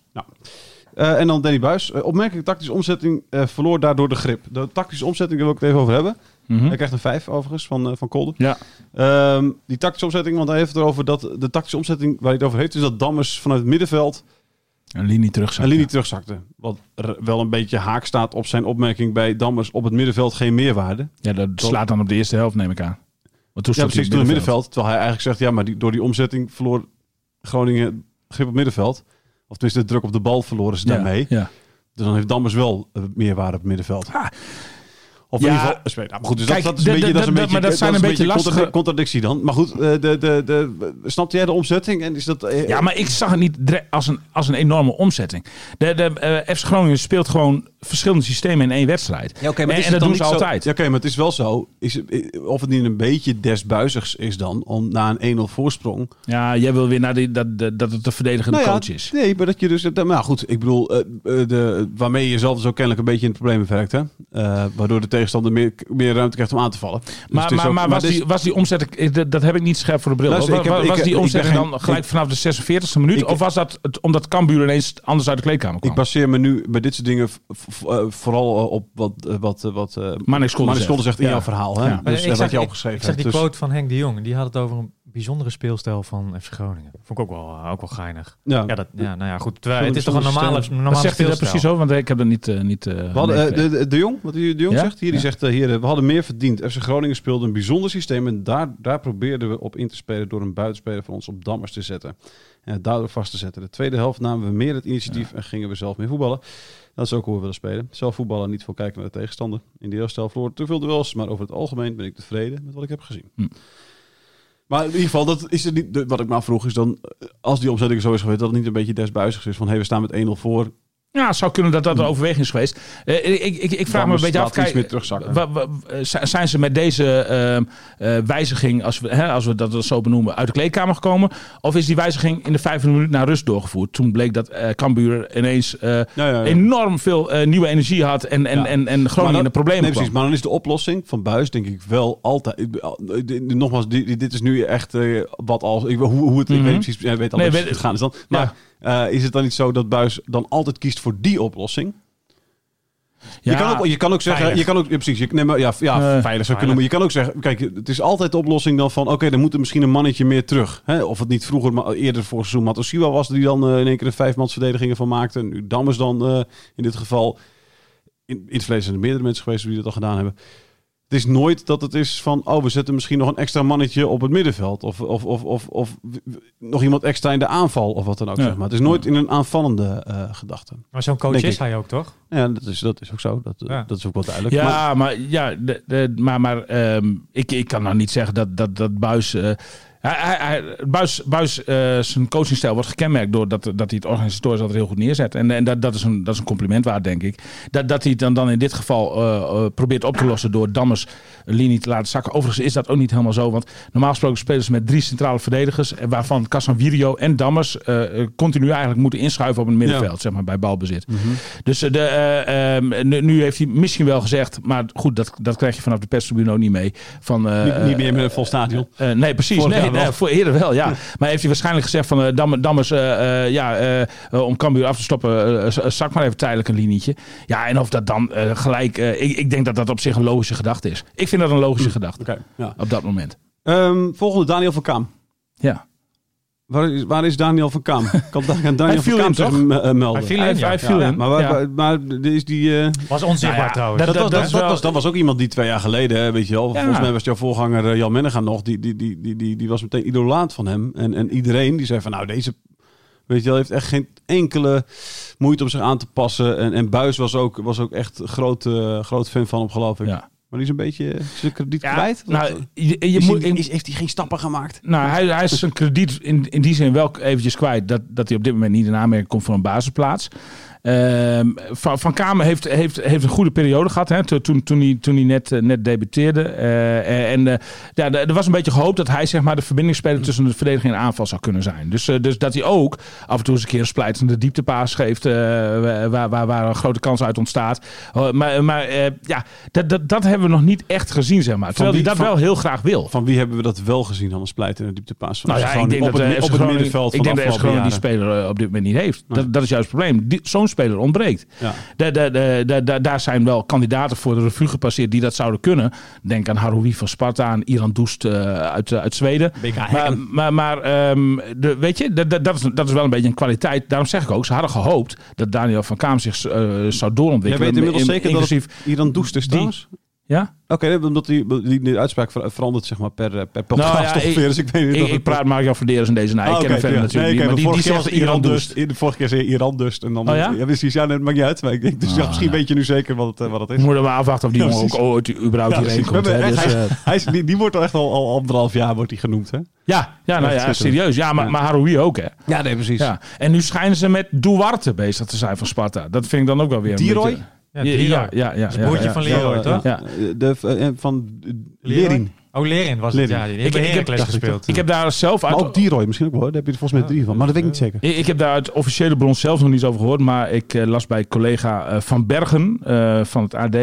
B: Eh, en dan Danny Buis. Eh, opmerkelijke tactische omzetting eh, verloor daardoor de grip. De tactische omzetting daar wil ik het even over hebben.
C: Mhm.
B: Hij krijgt een 5 overigens van, eh, van Kolder.
C: Ja.
B: Ehm, die tactische omzetting, want hij heeft het erover dat de tactische omzetting waar hij het over heeft, is dat Dammers vanuit het middenveld
C: Een linie terug.
B: een linie terugzakte. Wat er wel een beetje haak staat op zijn opmerking bij Dammers op het middenveld geen meerwaarde.
C: Ja, dat slaat dan op de eerste helft, neem ik aan. Want
B: Ja,
C: toen stond hij
B: precies, door het middenveld. Terwijl hij eigenlijk zegt, ja, maar die, door die omzetting verloor Groningen grip op het middenveld. Of tenminste, de druk op de bal verloren ze daarmee.
C: Ja, ja.
B: Dus dan heeft Dammers wel eh, meerwaarde op het middenveld. Of in
C: Ja.
B: ieder geval... Nou, maar goed, dus
C: Kijk,
B: dat, dat is een
C: dat-
B: beetje... Dat
C: dat-
B: is een
C: dat-
B: beetje,
C: maar dat zijn
B: is
C: een beetje
B: contra-
C: lastige-
B: contradictie dan. Maar goed, eh, de, de, de, snapte jij de omzetting? En is dat... eh,
C: ja, maar ik zag het niet dre- als een, als een enorme omzetting. De, de, eh, FC Groningen speelt gewoon verschillende systemen in één wedstrijd.
B: Ja, oké,
C: En- en,
B: het
C: dat
B: dan
C: doen ze
B: niet zo-
C: altijd.
B: Ja, Oké, maar het is wel zo. Is, eh, of het niet een beetje desbuizigs is dan, om na een 1-0 voorsprong...
C: Ja, jij wil weer naar die, dat, dat, dat het de verdedigende
B: Nou ja,
C: coach is.
B: Nee, maar dat je dus... dat- Maar goed, ik bedoel, eh, eh, de, waarmee je jezelf dus ook kennelijk een beetje in de problemen verrekt, hè? Eh, waardoor de tegenstander meer, meer ruimte krijgt om aan te vallen. Dus het
C: Maar,
B: is
C: maar,
B: ook-
C: maar was,
B: dit is-
C: die, was die omzetting, eh, dat, dat heb ik niet scherp voor de bril.
B: Luister,
C: Wa-
B: ik heb-
C: wa-
B: ik-
C: was
B: ik
C: die
B: ben
C: omzetting
B: geen-
C: dan gelijk vanaf de 46e minuut?
B: Ik-
C: of was dat het, omdat Cambuur ineens anders uit de kleedkamer kwam?
B: Ik baseer me nu bij dit soort dingen v- v- eh, vooral eh, op wat, eh, wat, eh, wat eh,
C: Manik Scholder
B: Manik
C: zegt.
B: zegt in
C: Ja.
B: jouw verhaal. Hè?
C: Ja.
D: Maar
B: Dus
D: ik
B: dat
D: zag-
B: wat je
D: ik-
B: al geschreven
D: Ik zag die
B: hebt. Dus-
D: quote van Henk de Jong. Die had het over een bijzondere speelstijl van FC Groningen. Vond ik ook wel, eh, ook wel geinig.
B: ja.
D: Ja, dat, ja, nou ja, goed. Terwijl, het is toch een
B: Bijzondere
D: normale,
B: stijl.
D: normale
C: Wat zegt hij dat
D: speelstijl?
C: precies zo? Want ik heb dat niet... eh, niet eh,
B: we hadden, eh,
C: meegekregen.
B: de, de, de Jong, wat de Jong
C: Ja?
B: zegt hier, die
C: Ja.
B: zegt eh, heren, we hadden meer verdiend. FC Groningen speelde een bijzonder systeem en daar, daar probeerden we op in te spelen door een buitenspeler van ons op dammers te zetten. En het daardoor vast te zetten. De tweede helft namen we meer het initiatief en gingen we zelf meer voetballen. Dat is ook hoe we willen spelen. Zelf voetballen, niet veel kijken naar de tegenstander. In de eerste helft verloor te veel duels, maar over het algemeen ben ik tevreden met wat ik heb gezien.
C: Hm.
B: Maar in ieder geval, dat is het niet, de- wat ik me afvroeg is dan, eh, als die omzetting zo is geweest, dat het niet een beetje desbuizig is van, hé, hey, we staan met 1-0 voor.
C: Ja, het zou kunnen dat dat een overweging is geweest. Eh, ik, ik, ik vraag me een
B: Dammers
C: beetje af.
B: laat Hmm. iets
C: Kijk,
B: meer terugzakken.
C: wa- wa- eh, zi- zijn ze met deze ehm, eh, wijziging, als we, hè, als we dat zo benoemen, uit de kleedkamer gekomen? Of is die wijziging in de vijfde minuut naar rust doorgevoerd? Toen bleek dat eh Cambuur ineens eh,
B: Ja, ja, ja.
C: enorm veel eh, nieuwe energie had en, en,
B: Ja.
C: en, en
B: Maar
C: Groningen in de
B: dan-
C: problemen
B: nee,
C: kwam.
B: precies. Maar dan is de oplossing van Buis, denk ik, wel altijd. ik- al- de- de- Nogmaals, di- di- dit is nu echt eh, wat als. Ik, hoe, hoe het. Ik
C: Mhm.
B: weet niet precies. Jij weet al
C: Nee,
B: precies
C: weet-
B: hoe het gaan is dan. Maar eh, is het dan niet zo dat Buis dan altijd kiest voor die oplossing?
C: Ja.
B: je, kan ook, je kan ook zeggen.
D: veilig.
B: Je kan ook. Ja, precies. Je, nee, maar, ja, ja
C: Nee.
B: veilig zou kunnen. Maar je kan ook zeggen. Kijk, het is altijd de oplossing dan van. Oké, dan moet er misschien een mannetje meer terug. Hè? Of het niet vroeger, maar eerder voor seizoen Matosiwa was. Die dan eh, in één keer de vijfmansverdedigingen van maakte. Nu Dammers dan eh, in dit geval. In, in het verleden zijn er meerdere mensen geweest die dat al gedaan hebben. Het is nooit dat het is van, oh, we zetten misschien nog een extra mannetje op het middenveld. Of, of, of, of, of w- w- nog iemand extra in de aanval of wat dan ook.
C: Ja.
B: Zeg maar. Het is nooit in een aanvallende eh, gedachte.
D: Maar zo'n coach
B: Denk
D: is
B: ik.
D: hij ook, toch?
B: Ja, dat is, dat is ook zo. Dat, eh,
D: Ja.
B: dat is ook wel duidelijk. Maar-
C: Ja, maar, ja, de- de- maar, maar ehm, ik, ik kan nou niet zeggen dat, dat, dat Buis Hij, hij, hij- Buis, Buis eh, zijn coachingstijl wordt gekenmerkt door dat, dat hij het organisatorisch altijd heel goed neerzet. En, en dat, dat, is een, dat is een compliment waard, denk ik. Dat, dat hij het dan, dan in dit geval eh, eh, probeert op te lossen door Dammers een linie te laten zakken. Overigens is dat ook niet helemaal zo, want normaal gesproken spelen ze met drie centrale verdedigers. eh, Waarvan Casanvirio en Dammers eh, eh, continu eigenlijk moeten inschuiven op het middenveld, zeg maar, bij balbezit.
B: Mhm.
C: Dus eh, de, eh, ehm, nu, nu heeft hij misschien wel gezegd, maar goed, dat, dat krijg je vanaf de perstribune ook niet mee. Van, eh,
B: niet, niet meer met een vol stadion.
C: eh, nee, precies.
B: Vorig
C: nee,
B: jaar
C: nee,
B: wel.
C: voor eerder wel, ja. Maar heeft hij waarschijnlijk gezegd van eh, Dam- Dammers, eh, eh, ja, eh, eh, om Cambuur af te stoppen, eh, eh, zak maar even tijdelijk een linietje. Ja, en of dat dan eh, gelijk, eh, ik, ik denk dat dat op zich een logische gedachte is. Ik vind dat een logische gedachte
B: Oké. ja.
C: op dat moment.
B: Ehm, volgende, Daniel van Kaam.
C: Ja.
B: Waar is, waar is Daniel van Kaam? Ik kan daar aan Daniel
C: viel
B: van Kaam
C: in,
B: zich
C: toch?
B: m- eh, melden.
D: Hij viel in, ja.
C: viel
B: Ja,
C: in.
B: maar, waar,
C: Ja.
B: waar- maar is die... eh,
D: Was onzichtbaar
C: Nou ja,
D: trouwens.
C: dat-
B: dat,
C: dat
B: dat,
C: is
B: dat
C: wel-
B: was, dat was ook iemand die twee jaar geleden, hè, weet je wel.
C: Ja.
B: Volgens mij was jouw voorganger eh, Jan Mennega nog. Die, die, die, die, die, die was meteen idolaat van hem. En, en iedereen die zei van nou deze... Weet je wel, heeft echt geen enkele moeite om zich aan te passen. En, en Buis was ook, was ook echt groot, eh, groot fan van hem, geloof ik.
C: Ja.
B: Maar die is een beetje eh, zijn krediet
C: Ja,
B: kwijt. Of-
C: nou, je, je
B: is
C: moet,
B: hij- is- heeft hij geen stappen gemaakt?
C: Nou, hij, hij is zijn krediet in, in die zin wel eventjes kwijt. Dat, dat hij op dit moment niet in aanmerking komt voor een basisplaats. Ehm, van, van Kamer heeft, heeft, heeft een goede periode gehad. Hè, to- toen, toen, hij, toen hij net, eh, net debuteerde. Eh, en eh, ja, er er was een beetje gehoopt dat hij zeg maar, de verbindingsspeler tussen de verdediging en aanval zou kunnen zijn. Dus, eh, dus dat hij ook af en toe eens een keer een splijtende dieptepaas geeft. eh, waar, waar, waar een grote kans uit ontstaat. Eh, maar maar eh, ja, dat, dat, dat hebben we nog niet echt gezien. Zeg maar. Terwijl
B: wie-
C: hij dat
B: van-
C: wel heel graag wil.
B: Van wie hebben we dat wel gezien dan een splijt en een dieptepaas? Van
C: Nou
B: FC
C: ja, ik
B: Groningen
C: denk
B: op
C: dat
B: het, mi-
C: eh, FC
B: op het
C: Groningen-
B: middenveld
C: Ik
B: van
C: denk
B: de
C: dat FC
B: afgelopen
C: Groningen die
B: jaren.
C: speler eh, op dit moment niet heeft.
B: Nee.
C: Dat, dat is juist het probleem. Die- Zo'n speler ontbreekt.
B: Ja.
C: Da- da- da- da- da- daar zijn wel kandidaten voor de revue gepasseerd die dat zouden kunnen. Denk aan Haroui van Sparta, aan Iran Doest eh, uit, eh, uit Zweden. Maar, maar, maar ehm, de, weet je, dat, dat, dat, is, dat is wel een beetje een kwaliteit. Daarom zeg ik ook, ze hadden gehoopt dat Daniel van Kaam zich eh, zou
B: Jij
C: doorontwikkelen.
B: weet inmiddels
C: In-
B: zeker
C: inclusief,
B: dat het Iran Doest is
C: die-
B: trouwens?
C: Ja?
B: Oké, nee, omdat die, die, die uitspraak ver- verandert zeg maar per, eh, per podcast
C: Nou ja, ik-
B: ongeveer. Dus ik weet niet
C: Ik,
B: of
C: ik
B: het-
C: praat Mario Verderes in deze. Nou, ik
B: Ah,
C: ken hem
B: oké,
C: verder
B: ja.
C: natuurlijk
B: Nee,
C: niet.
B: oké,
C: Maar
B: maar
C: die, die
B: vorige keer
C: zegt
B: was het
C: Iran
B: Iran
C: Doest.
B: Dust. De vorige keer zei je Iran Dust. En dan,
C: Oh ja? Ah,
B: precies. Ja, dat maakt niet uit. Maar ik denk, dus ja, misschien weet je nu zeker wat het, eh, wat het is.
C: Moeten we maar afwachten of die
B: Ja,
C: jongen ook
B: precies.
C: ooit überhaupt
B: Ja,
C: hierheen
B: precies.
C: komt.
B: We
C: hè.
B: hebben
C: Dus,
B: echt-
C: eh,
B: Hij is, die, die wordt al echt al, al anderhalf jaar wordt die genoemd, hè?
C: Ja, ja, nou
B: Ja,
C: ja,
B: het is
C: serieus. Ja, maar,
B: Ja.
C: maar Haroui ook, hè?
B: Ja, nee, precies.
C: Ja. En nu schijnen ze met Duarte bezig te zijn van Sparta. Dat vind ik dan ook wel weer een
B: Diroy?
C: beetje-
D: Ja,
C: Ja,
D: Dieroy.
C: ja, ja, ja,
D: Dat is het broertje
C: ja,
D: van
C: ja.
D: Leroy,
B: Ja,
D: toch?
C: Ja.
B: De, eh, van eh, Lering.
D: Oh, Lerin was het.
B: Lerin.
D: Ja, die
C: Ik-
D: heeft bij
C: ik heb-
D: Heracles
C: dacht ik
D: gespeeld.
C: Ik heb daar zelf
B: Maar
C: uit...
B: ook Dieroy misschien ook wel. hoor. Daar heb je er volgens mij drie van. Maar dat weet ik niet zeker.
C: Ik ik heb daar uit officiële bron zelf nog niet over gehoord. Maar ik eh, las bij collega eh, Van Bergen eh, van het AD.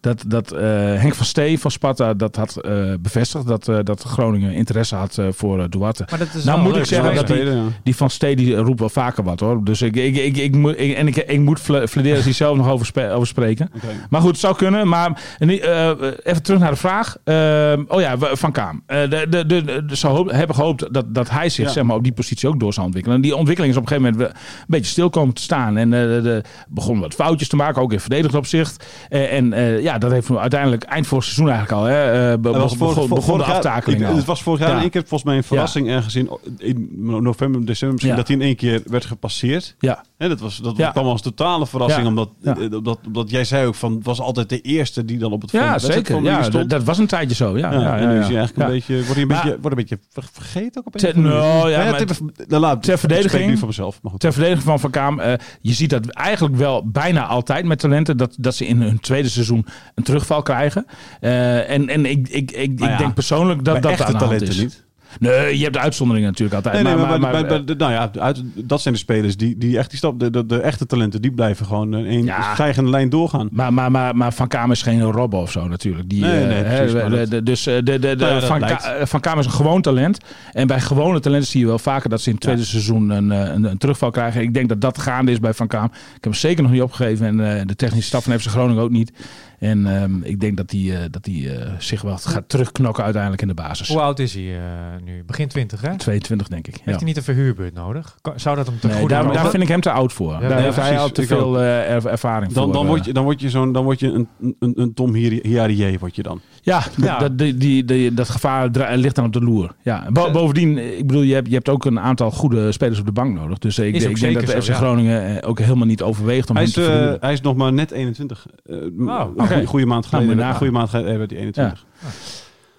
C: Dat, dat eh, Henk van Stee van Sparta dat had eh, bevestigd. Dat, eh, dat Groningen interesse had eh, voor eh, Duarte.
D: Maar dat is
C: Nou
D: wel
C: moet
D: leuk,
C: ik zeggen
D: hè?
C: dat die-
B: Tweede, ja.
C: Die van Stee die roept wel vaker wat hoor. Dus ik, ik, ik, ik, moet- ik- en ik, ik moet Fle- Flederis hier zelf nog over, spe- over spreken.
B: Oké.
C: Maar goed, het zou kunnen. Maar en die, eh, even terug naar de vraag. Ehm, oh ja, we- Van Kaam. Eh, de, de, de, de- ze hoop- hebben gehoopt dat, dat hij zich
B: Ja.
C: zeg maar, op die positie ook door zou ontwikkelen. En die ontwikkeling is op een gegeven moment we- een beetje stil komen te staan. En eh, de- de- begon wat foutjes te maken, ook in verdedigend opzicht. Eh, en eh, ja, dat heeft hem uiteindelijk eind vorig seizoen eigenlijk al. Hè, eh, be-
B: Dat was
C: begon,
B: vorig-
C: begon de
B: vorig jaar-
C: aftakeling
B: ik-
C: al.
B: Het was vorig jaar
C: Ja.
B: in één keer volgens mij een verrassing ergens in, in november, december misschien,
C: Ja.
B: dat hij in één keer werd gepasseerd.
C: Ja.
B: Hè, dat was, dat
C: Ja.
B: kwam als totale verrassing,
C: Ja.
B: Omdat,
C: Ja.
B: eh, omdat, omdat jij zei ook van, het was altijd de eerste die dan op het
C: Ja,
B: volgende
C: zeker.
B: wedstrijdformulier
C: Ja,
B: stond.
C: d- dat was een tijdje zo. Ja, ja, ja,
B: en nu
C: ja.
B: is hij eigenlijk
C: Ja.
B: een beetje, wordt hij een,
C: Maar-
B: beetje, wordt een beetje ver- vergeten ook op een
C: Ter-
B: of andere
C: nou,
B: manier.
C: ja,
B: Maar
C: maar
B: ter, nou, laat-
C: ter
B: ik spreek
C: verdediging-
B: nu van mezelf. Maar goed.
C: Ter verdediging van Van Kaam, eh, je ziet dat eigenlijk wel bijna altijd met talenten dat, dat ze in hun tweede seizoen een terugval krijgen. Eh, en en ik, ik, ik,
B: Maar
C: ik
B: Nou ja,
C: denk persoonlijk
B: Bij
C: dat dat aan
B: echte
C: de hand
B: talenten
C: is.
B: niet.
C: Nee, je hebt de uitzonderingen natuurlijk altijd.
B: Nee, nee, maar, bij- bij-
C: eh,
B: bij de- nou ja, uit, dat zijn de spelers die, die echt die stap, de, de, de echte talenten, die blijven gewoon in een
C: Ja.
B: stijgende lijn doorgaan.
C: Maar, maar, maar, maar Van Kamer is geen Robbo of zo natuurlijk. Die,
B: Nee,
C: eh,
B: nee,
C: hè,
B: precies, maar
C: de-
B: dat-
C: de- dus eh, de, de, de,
B: Nou ja, dat
C: van,
B: lijkt.
C: Ka- eh, van Kamer is een gewoon talent. En bij gewone talenten zie je wel vaker dat ze in het tweede seizoen een, eh, een, een terugval krijgen. Ik denk dat dat gaande is bij Van Kamer. Ik heb hem zeker nog niet opgegeven. En eh, de technische staf van FC Groningen ook niet. En ehm, ik denk dat die, eh, dat die eh, zich wel gaat terugknokken uiteindelijk in de basis.
D: Hoe oud is hij eh, nu? Begin 20, hè?
C: 22 denk ik. Ja.
D: Heeft hij niet een verhuurbeurt nodig? Kan- Zou dat hem te
C: Nee,
D: goed
C: daar,
D: komen?
C: daar vind ik hem te oud voor. daar
D: nee,
C: heeft hij
B: precies.
C: al te
B: Ik ook.
C: veel eh, er- ervaring
B: Dan,
C: voor.
B: dan,
C: eh.
B: word je, dan word je zo'n, dan word je een, een, een Tom Hier- Hiarie word je dan.
C: Ja,
D: Ja.
C: Dat, die, die, die- dat gevaar dra- ligt dan op de loer. Ja. Bo- bovendien, ik bedoel, je hebt, je hebt ook een aantal goede spelers op de bank nodig. Dus eh, ik,
D: Is
C: denk-
D: ook
C: ik denk
D: zeker
C: dat de FC
D: zo, ja.
C: Groningen eh, ook helemaal niet overweegt om
B: Hij
C: hem
B: is,
C: te
B: eh,
C: verhuren.
B: hij is nog maar net 21. Eh, m-
D: Oh,
B: goeie-
C: oké. Nou,
B: Goede maand
C: moet je
B: geleden.
C: nagaan.
B: goede maand geleden werd hij 21.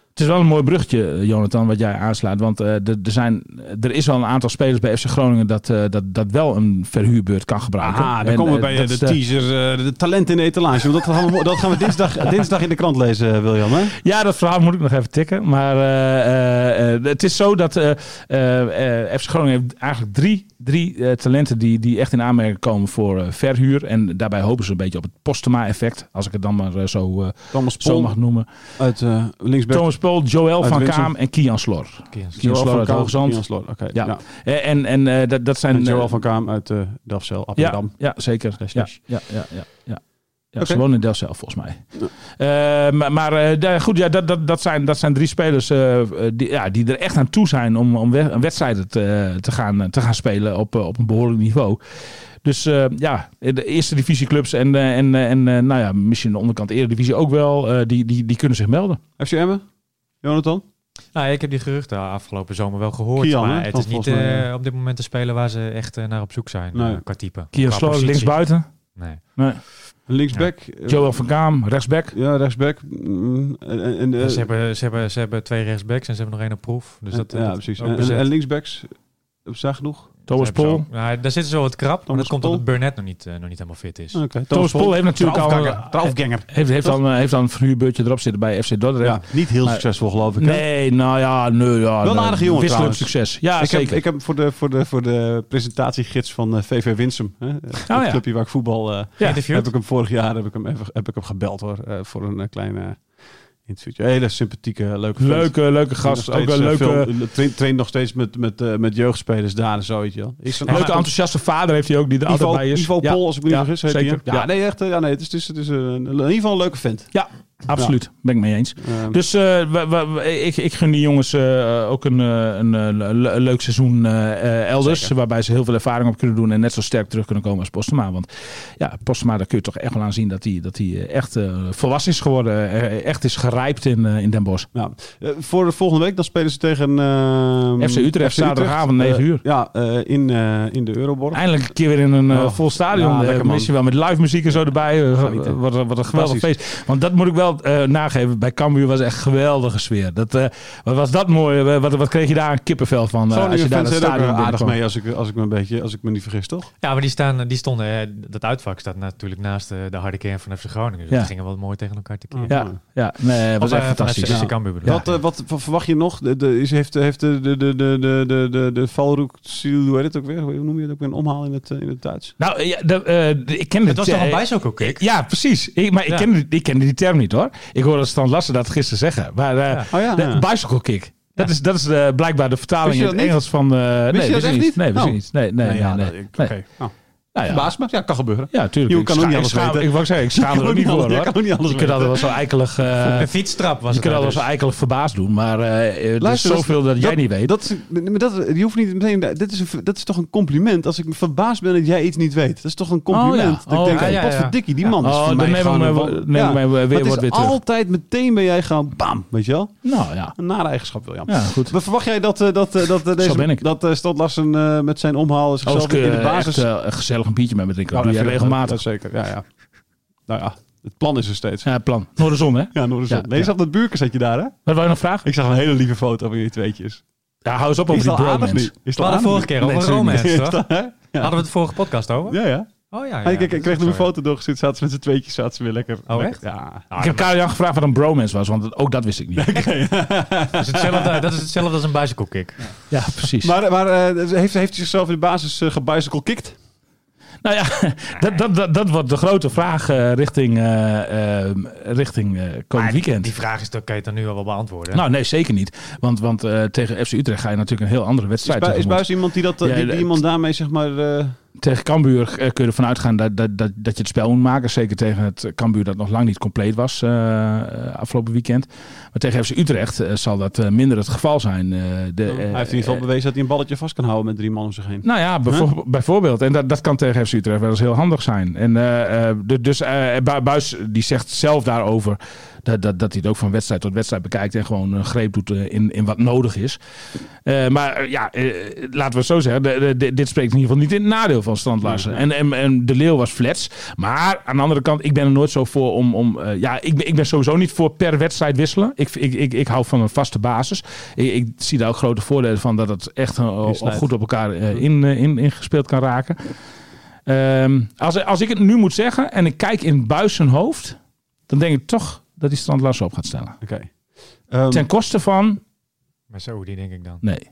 C: Het is wel een mooi bruggetje, eh, Jonathan, wat jij aanslaat. Want eh, er- er, zijn, er is al een aantal spelers bij FC Groningen dat, eh, dat, dat wel een verhuurbeurt kan gebruiken.
B: Ah, dan
C: En,
B: komen we
C: eh,
B: bij eh,
C: dat
B: de
C: is, eh,
B: teaser, eh, de talent in de etalage. Want dat gaan we, dat gaan we dinsdag, dinsdag in de krant lezen, eh, William. Hè?
C: Ja, dat verhaal moet ik nog even tikken. Maar eh, eh, eh, het is zo dat eh, eh, eh, FC Groningen heeft eigenlijk drie, drie eh, talenten die, die echt in aanmerking komen voor eh, verhuur. En daarbij hopen ze een beetje op het Postema-effect, als ik het dan maar eh, zo, eh,
B: Thomas
C: zo
B: Pol
C: mag noemen.
B: uit eh linksback.
C: Thomas Pol, Joël
B: Uit
C: van
B: Winsum.
C: Kaam en Kian Slor. Kian
B: Joël
C: Slor uit
B: Kaam,
C: Hoogzand.
B: Kian Slor, oké.
C: Ja.
B: Ja.
C: Eh, En, en eh, dat, dat zijn...
B: En Joël
C: eh,
B: van Kaam uit eh Delfzijl,
C: ja,
B: Appendam.
C: ja, zeker. Ja,
B: Slash,
C: ja,
B: slash.
C: ja, ja, ja. Ja,
B: Oké.
C: Ze wonen in Delft volgens mij. Eh, maar maar eh, daar- goed, ja, dat, dat, dat, zijn, dat zijn drie spelers eh, eh, die, ja, die er echt aan toe zijn om, om we- wedstrijden te, te, gaan, eh, te gaan spelen op, eh, op een behoorlijk niveau. Dus eh, ja, de eerste divisieclubs en, eh, en, eh, en eh, nou ja, misschien de onderkant eredivisie ook wel, eh, die, die, die kunnen zich melden.
B: FC Emmen, Jonathan?
D: Nou, ik heb die geruchten afgelopen zomer wel gehoord.
B: Kian, hè?
D: maar het
B: Van
D: is niet
B: volgens mij,
D: eh, op dit moment de speler waar ze echt eh, naar op zoek zijn.
B: Nee.
D: eh, qua type.
C: Kian
D: Qua
C: Sloor
D: positie.
C: linksbuiten,
D: Nee.
B: Linksback. Ja,
C: Joel van Kaam rechtsback.
B: rechtsback. Mm, en, en, eh,
D: ze, hebben, ze, hebben, ze hebben twee rechtsbacks en ze hebben nog één op proef. Dus dat,
B: ja,
D: dat-
B: precies.
D: ook
B: En, en,
D: bezet.
B: en linksbacks, zag genoeg.
C: Thomas
D: Hebben ze
C: Pol.
D: ook. Ja, daar zitten ze wel wat krap, maar
B: Thomas
D: dat komt omdat
B: Pol.
D: Burnett nog niet, eh, nog niet helemaal fit is.
B: Oké.
C: Thomas Pol heeft natuurlijk al...
B: Draufganger.
C: Heeft, heeft, dan, eh, heeft dan een verhuurbeurtje erop zitten bij FC Dordrecht.
B: Ja, niet heel
C: Maar-
B: succesvol geloof ik. hè?
C: Nee, nou ja, nee, ja.
B: Wel een
C: nee.
B: aardige jongen
C: Wisselend
B: trouwens.
C: succes. Ja,
B: ik,
C: zeker.
B: heb, ik heb voor de, voor de, voor de presentatiegids van eh, VV Winsum, hè, het
C: Oh, ja.
B: clubje waar ik voetbal, eh,
C: Ja.
B: heb ik hem vorig jaar heb ik hem, even, heb ik hem gebeld hoor, eh, voor een eh, kleine interviewtje. Hele sympathieke, eh, leuke vent.
C: leuke, leuke gast.
B: Nog
C: Ook
B: steeds,
C: een
B: eh,
C: leuke, leuke
B: veel- traint- traint nog steeds met, met, eh, met jeugdspelers daar en zo. weet je wel. Is er nog-
C: enthousiaste vader heeft hij ook die er altijd
B: Ivo,
C: bij is.
B: Ivo
C: ja,
B: Pol, als ik me niet
C: Ja,
B: vergis. heet die,
C: zeker.
B: hè?
C: Ja.
B: Ja, nee, echt. eh, Ja, nee, het is, het is, het is een, in ieder geval een leuke vent.
C: absoluut. Ben ik mee eens.
B: Ehm,
C: Dus eh, we- we- we- ik, ik gun die jongens eh, ook een, eh, een, eh, le- le- leuk seizoen eh, eh, elders. Waarbij ze heel veel ervaring op kunnen doen. En net zo sterk terug kunnen komen als Postema. Want ja, Postema, daar kun je toch echt wel aan zien dat hij dat hij, eh, echt eh, volwassen is geworden. eh, echt is gerijpt in, eh, in Den Bosch.
B: Nou, eh, voor de volgende week dan spelen ze tegen ehm,
C: FC Utrecht, zaterdagavond,
B: Eh,
C: 9 uur.
B: ja, eh, in, eh, in de Euroborg.
C: Eindelijk een keer weer in een eh,
B: Oh,
C: vol
B: ja,
C: stadion.
B: lekker,
C: Ja,
B: man.
C: Misschien wel met live muziek en zo erbij. Eh,
B: Genieten.
C: wat, een- wat een geweldig
B: Fantastisch.
C: feest. Want dat moet ik wel eh, nageven. Bij Cambuur was echt een geweldige sfeer. Dat, eh, wat was dat mooi? eh, Wat, wat kreeg je daar een kippenvel van? eh,
B: Groningen
C: als je daar
B: fans
C: het
B: zijn ook
C: stadion
B: wel aardig
C: binnenkwam?
B: mee als ik, eh, als ik me een beetje, als ik me niet vergis, toch?
D: Ja, maar die, staan, die stonden, eh, dat uitvak staat natuurlijk naast eh, de, de harde kern van FC Groningen. Dus
C: Ja.
D: die gingen wel mooi tegen elkaar te keer.
B: Ja.
C: Ja, ja nee, het was
D: Of,
C: echt
D: eh, van
C: fantastisch.
D: FC
C: Ja.
D: Cambuur bedoel ik.
B: Wat, eh, wat v- verwacht je nog? De, de, is, heeft, heeft de, de, de, de, de, de, de, de Valroek Siel, hoe heet het ook weer? Hoe noem je het ook weer? Een omhaal in het, eh, in het Duits.
C: Nou, eh, ja, de, eh, de- ik ken
D: Het was toch een
C: eh,
D: bijsokkel kick?
C: Ja, precies. Ik, maar ik,
D: Ja.
C: kende, ik kende die term niet hoor. Ik hoorde Stan Lassen dat gisteren zeggen. Maar eh,
B: Oh ja,
C: de
B: ja.
C: bicycle kick. Dat is, dat is eh, blijkbaar de vertaling
B: Wist
C: in
B: je
C: het
B: dat niet?
C: Engels van... eh nee,
B: je dat
C: wist ik
B: echt niet?
C: Nee, wist ik
B: Oh.
C: niet. Nee, nee, nee.
B: ja,
C: nee,
B: dat- ik-
C: Nee.
B: Oké. Nou,
C: Nou ja.
B: Verbaas me. Ja, kan gebeuren.
C: Ja, tuurlijk.
B: Joe
C: Ik
B: kan ook
C: scha-
B: niet alles
C: ik schaam-
B: weten.
C: Ik wou zeggen, ik schaam er ook
B: ook
C: niet
B: niet
C: voor
B: alles-
C: hoor.
B: jij kan ook niet alles
C: je kunt
B: weten.
C: altijd wel zo eikelig... eh
D: Een fietstrap was
C: je
D: het.
C: kunt
D: nou
C: altijd
D: dus.
C: wel zo eikelig verbaasd doen. Maar eh, er is
B: Luister, dat-
C: zoveel dat jij
B: dat-
C: niet weet.
B: Dat, is- maar dat, je hoeft niet meteen. Dit is, een v- dat is toch een compliment als ik verbaasd ben dat jij iets niet weet. Dat is toch een compliment.
C: Oh ja.
B: Dat
C: Oh,
B: ik denk,
C: ja,
B: ja,
D: ja,
B: ja,
D: ja.
B: potverdikkie, die man is
C: oh,
B: voor
C: dan
B: mij
C: nemen we
B: gewoon
C: mijn,
B: een
C: wo-
B: wa-
C: nemen we
B: Ja.
C: mijn
B: Maar het is
C: weerwoord weer terug.
B: altijd meteen ben jij gewoon bam, weet je wel?
C: Nou ja.
B: Een nare eigenschap, William.
C: Ja, goed.
B: Maar Verwacht jij dat, eh, dat, eh, dat, eh,
C: ben
B: deze,
C: ik.
B: dat eh Stad Larsen eh, met zijn omhaal
C: Als
B: zichzelf
C: ik
B: in de
C: eh, echt
B: basis...
C: eh, gezellig een biertje met me drinken.
B: Nou,
C: Oh, Dat doe
B: dat
C: jij
B: vind ik wel-
C: regelmatig.
B: dat zeker, ja, ja. Nou ja, het plan is er steeds.
C: Ja, plan. Noorderzon, hè?
B: Ja, Noorderzon.
C: Ja,
B: nee, je
C: ja.
B: zag dat buurken zat je daar, hè?
C: Wat wil je nog vragen?
B: Ik zag een hele lieve foto van jullie tweetjes.
C: Ja, hou eens op over
B: Is
C: die
B: dat aardig
C: bromance.
B: niet? Is
D: We
B: dat aardig?
D: hadden vorige keer
C: Nee,
D: over
C: natuurlijk
D: romance,
B: Is
D: toch?
B: dat, hè?
D: Hadden we het vorige podcast over?
B: Ja, ja.
D: Oh ja,
B: Hey, kijk,
D: dat
B: ik
D: is
B: kreeg nog
D: ook
B: een
D: zo, ja.
B: foto doorgestuurd. Zaten ze met z'n tweetjes zaten ze weer lekker.
D: Oh,
B: lekker-
D: echt?
B: Ja.
C: Ik heb Karel-Jan gevraagd wat een bromance was, want ook dat wist ik niet.
D: Dat is hetzelfde, dat is hetzelfde als een bicycle kick.
C: Ja, precies.
B: Maar, maar eh, heeft, heeft hij zichzelf in de basis uh, gebicycle kicked?
C: Nou ja, dat, dat, dat, dat wordt de grote vraag eh, richting, eh, eh, richting eh, komend weekend.
D: Die vraag is, dat kan je dan nu al wel beantwoorden.
C: Nou, nee, zeker niet. Want, want eh, tegen FC Utrecht ga je natuurlijk een heel andere
B: Is,
C: wedstrijd
B: Bu- is
C: tegemoet.
B: Buis iemand die, dat, eh,
C: Ja,
B: die, die
C: dat-
B: iemand daarmee zeg maar... eh,
C: Tegen Cambuur eh, kun je ervan uitgaan dat, dat, dat, dat je het spel moet maken. Zeker tegen het eh, Cambuur dat nog lang niet compleet was eh, eh, afgelopen weekend. Maar tegen FC Utrecht eh, zal dat eh, minder het geval zijn. eh, de,
B: hij heeft in ieder
C: eh,
B: geval bewezen dat hij een balletje vast kan houden met drie man om zich heen.
C: Nou ja, bijvo- bijvoorbeeld. En dat, dat kan tegen FC Utrecht wel eens heel handig zijn. En eh, eh, du- dus eh, Bu- Buis die zegt zelf daarover dat, dat, dat hij het ook van wedstrijd tot wedstrijd bekijkt en gewoon een greep doet eh, in, in wat nodig is. Eh, maar eh, ja, eh, laten we het zo zeggen, de- de- de- dit spreekt in ieder geval niet in het nadeel voordeel van Strand Larsen. En, en, en De Leeuw was flats. Maar aan de andere kant, ik ben er nooit zo voor om... om eh, ja, ik ben, ik ben sowieso niet voor per wedstrijd wisselen. Ik, ik, ik, ik hou van een vaste basis. Ik, ik zie daar ook grote voordelen van dat het echt eh,
D: Oh,
C: goed op elkaar eh, in, eh, in, ingespeeld kan raken. Ehm, als, als ik het nu moet zeggen en ik kijk in Buis zijn hoofd... dan denk ik toch dat hij Strand Larsen op gaat stellen.
B: Oké. Ehm,
C: Ten koste van...
D: Maar zo, die denk ik dan.
C: Nee,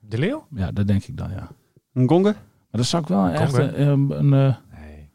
D: De Leeuw?
C: ja, dat denk ik dan, ja.
B: Ngonga?
C: Maar dat zou ik wel echt
D: hè?
C: eh, een... eh,
D: Nee.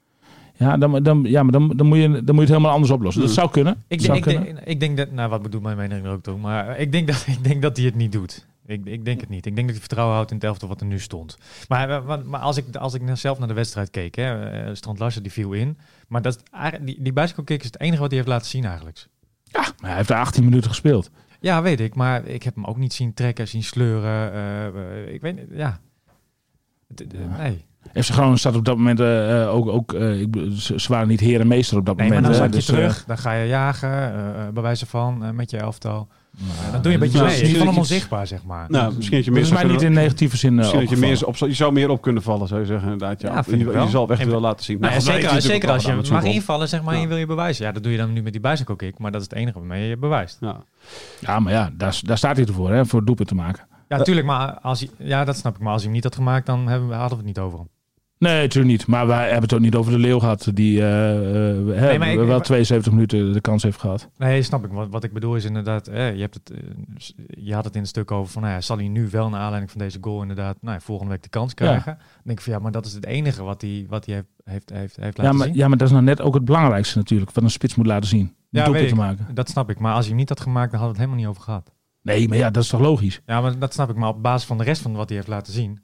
C: ja, dan, dan, ja, maar dan, dan, moet je, dan moet je het helemaal anders oplossen. Dat
B: Hmm.
C: zou kunnen.
D: Mm. Ik,
C: zou
D: denk- ik,
C: kunnen.
D: denk, ik denk dat, nou wat bedoelt mijn mening er ook toe, maar ik denk dat, ik denk dat hij het niet doet. Ik, ik denk het niet. Ik denk dat hij vertrouwen houdt in het elftal wat er nu stond. Maar, eh, want- maar als ik, als ik nou zelf naar de wedstrijd keek, hè, eh, Strand Larsen die viel in. Maar dat, is eigenlijk- die, die bicycle-kick is het enige wat hij heeft laten zien eigenlijk.
C: Ja, maar hij heeft er 18 minuten gespeeld.
D: Ja, weet ik. Maar ik heb hem ook niet zien trekken, zien sleuren. eh, eh, ik weet niet, ja. Het- het-
C: Ja.
D: Nee.
C: FC Groningen staat op dat moment eh, eh, ook... ook eh, ik, bedoel, ze, ze waren niet heer en meester op dat
D: Nee, maar
C: moment.
D: dan
C: hè,
D: zak je
C: dus, eh,
D: terug. Dan ga je jagen, eh, eh, bij wijze van, eh, met je elftal.
C: nou,
D: Dan doe je een beetje
B: nou,
D: mee.
B: misschien
D: Ik vond hem
B: dat je-
D: onzichtbaar, zeg maar.
B: Nou, misschien dat je
C: Dat
B: meer
C: is
B: zou
C: mij niet in
B: kunnen-
C: negatieve zin eh,
B: Misschien dat je,
C: opgevallen.
B: meer op, je zou meer op kunnen vallen, zou je zeggen. Inderdaad, ja.
D: Ja,
B: Of in
D: vind
B: ieder
D: ik
B: geval
D: wel.
B: jezelf echt
D: En-
B: wil laten zien.
D: Nou,
B: Nou, dat
D: zeker,
B: heeft hij
D: zeker als
B: natuurlijk
D: je
B: al gedaan
D: mag
B: met zo'n
D: invallen, zeg maar, en je
B: Ja.
D: wil je bewijzen. Ja, dat doe je dan nu met die bicycle kick, maar dat is het enige waarmee je bewijst.
B: goal. Ja.
C: Ja, maar ja, daar, daar staat hij ervoor, hè, voor het doelpunt te maken.
D: Ja, tuurlijk, maar als hij, ja, dat snap ik. Maar als hij hem niet had gemaakt, dan hebben, we- hadden we het niet over hem.
C: Nee, natuurlijk niet. Maar wij hebben het ook niet over de Leeuw gehad. Die eh, eh, hè,
D: maar ik-
C: wel
D: maar-
C: 72 minuten de kans heeft gehad.
D: Nee, snap ik. Wat, wat ik bedoel is inderdaad, eh, je, hebt het, eh, s- je had het in een stuk over van, nou ja, zal hij nu wel naar aanleiding van deze goal inderdaad nou, ja, volgende week de kans krijgen? Dan denk ik van, ja, maar dat is het enige wat hij, wat hij heeft, heeft, heeft, heeft
C: Ja
D: laten
C: maar,
D: zien.
C: ja, maar dat is nou net ook het belangrijkste natuurlijk. Wat een spits moet laten zien.
D: Ja,
C: Ja, doelpunt
D: weet
C: te
D: ik.
C: maken.
D: Dat snap ik, maar als hij hem niet had gemaakt, dan hadden we het helemaal niet over gehad.
C: Nee, maar ja, dat is toch logisch?
D: Ja, maar dat snap ik. Maar op basis van de rest van wat hij heeft laten zien,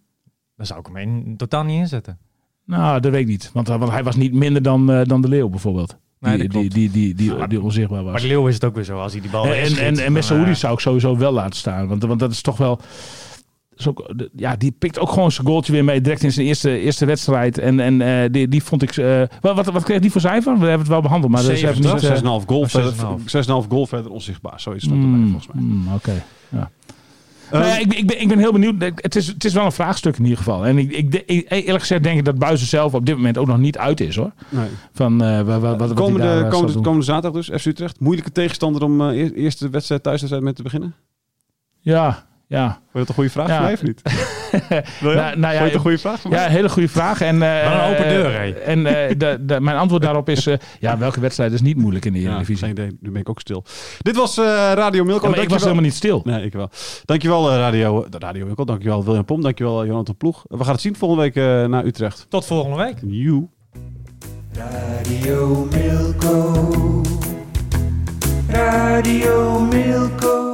D: dan zou ik hem in, totaal niet inzetten.
C: Nou, dat weet ik niet. Want, eh, want hij was niet minder dan, eh, dan de Leeuw bijvoorbeeld.
D: Nee,
C: die,
D: dat klopt.
C: Die, die, die, die, die onzichtbaar was.
D: Maar Leeuw is het ook weer zo, als hij
B: Oh,
D: die bal
C: En, en,
D: inschiet,
C: en, en
D: dan,
B: Ah,
C: met Saoedi
D: eh,
C: zou ik sowieso wel laten staan. Want, want dat is toch wel... is ook- de- ja, die pikt ook gewoon zijn goaltje weer mee. Direct in zijn eerste, eerste wedstrijd. En, en eh, die, die vond ik... eh, wat, wat, wat kreeg die voor cijfer? We hebben het wel behandeld. Maar dat is
D: Zeven,
C: even niet...
D: toch?
C: eh,
B: 6,5 goal, verder-
D: 6,5.
B: 6,5 goal verder onzichtbaar. Zoiets stond erbij,
C: mm,
B: volgens mij. Eh,
C: mm, Oké. Nou ja, ik, ik, ben, ik ben heel benieuwd. Het is, het is wel een vraagstuk in ieder geval. En ik, ik, de- ik- eh, eerlijk gezegd denk ik dat Buizen zelf op dit moment ook nog niet uit is hoor.
B: Nee.
C: Van, eh, wa- wa- wat, wat, hij
B: komende,
C: daar, eh, zal
B: komende,
C: doen.
B: komende zaterdag dus, FC Utrecht. Moeilijke tegenstander om eh eer- eerste wedstrijd thuiswedstrijd mee te beginnen?
C: Ja, ja.
B: Vond je dat een goede vraag
C: Ja.
B: voor mij of niet? Wil je?
C: Nou, nou ja,
B: Vond je het
C: ik-
B: een goede vraag voor mij?
C: Ja, hele goede vraag. En, eh,
D: Wel een open deur, hè?
C: En eh, de, de- mijn antwoord daarop is, eh, ja, welke wedstrijd is niet moeilijk in de
B: Ja,
C: Eredivisie?
B: geen idee. Nu ben ik ook stil. Dit was eh, Radio Milko.
C: Ja, maar ik was helemaal niet stil.
B: Nee, ik wel. Dankjewel eh, Radio, eh, Radio Milko. Dankjewel William Pom. Dankjewel eh, Jonathan Ploeg. We gaan het zien volgende week eh, naar Utrecht.
D: Tot volgende week.
B: You.
A: Radio Milko. Radio Milko.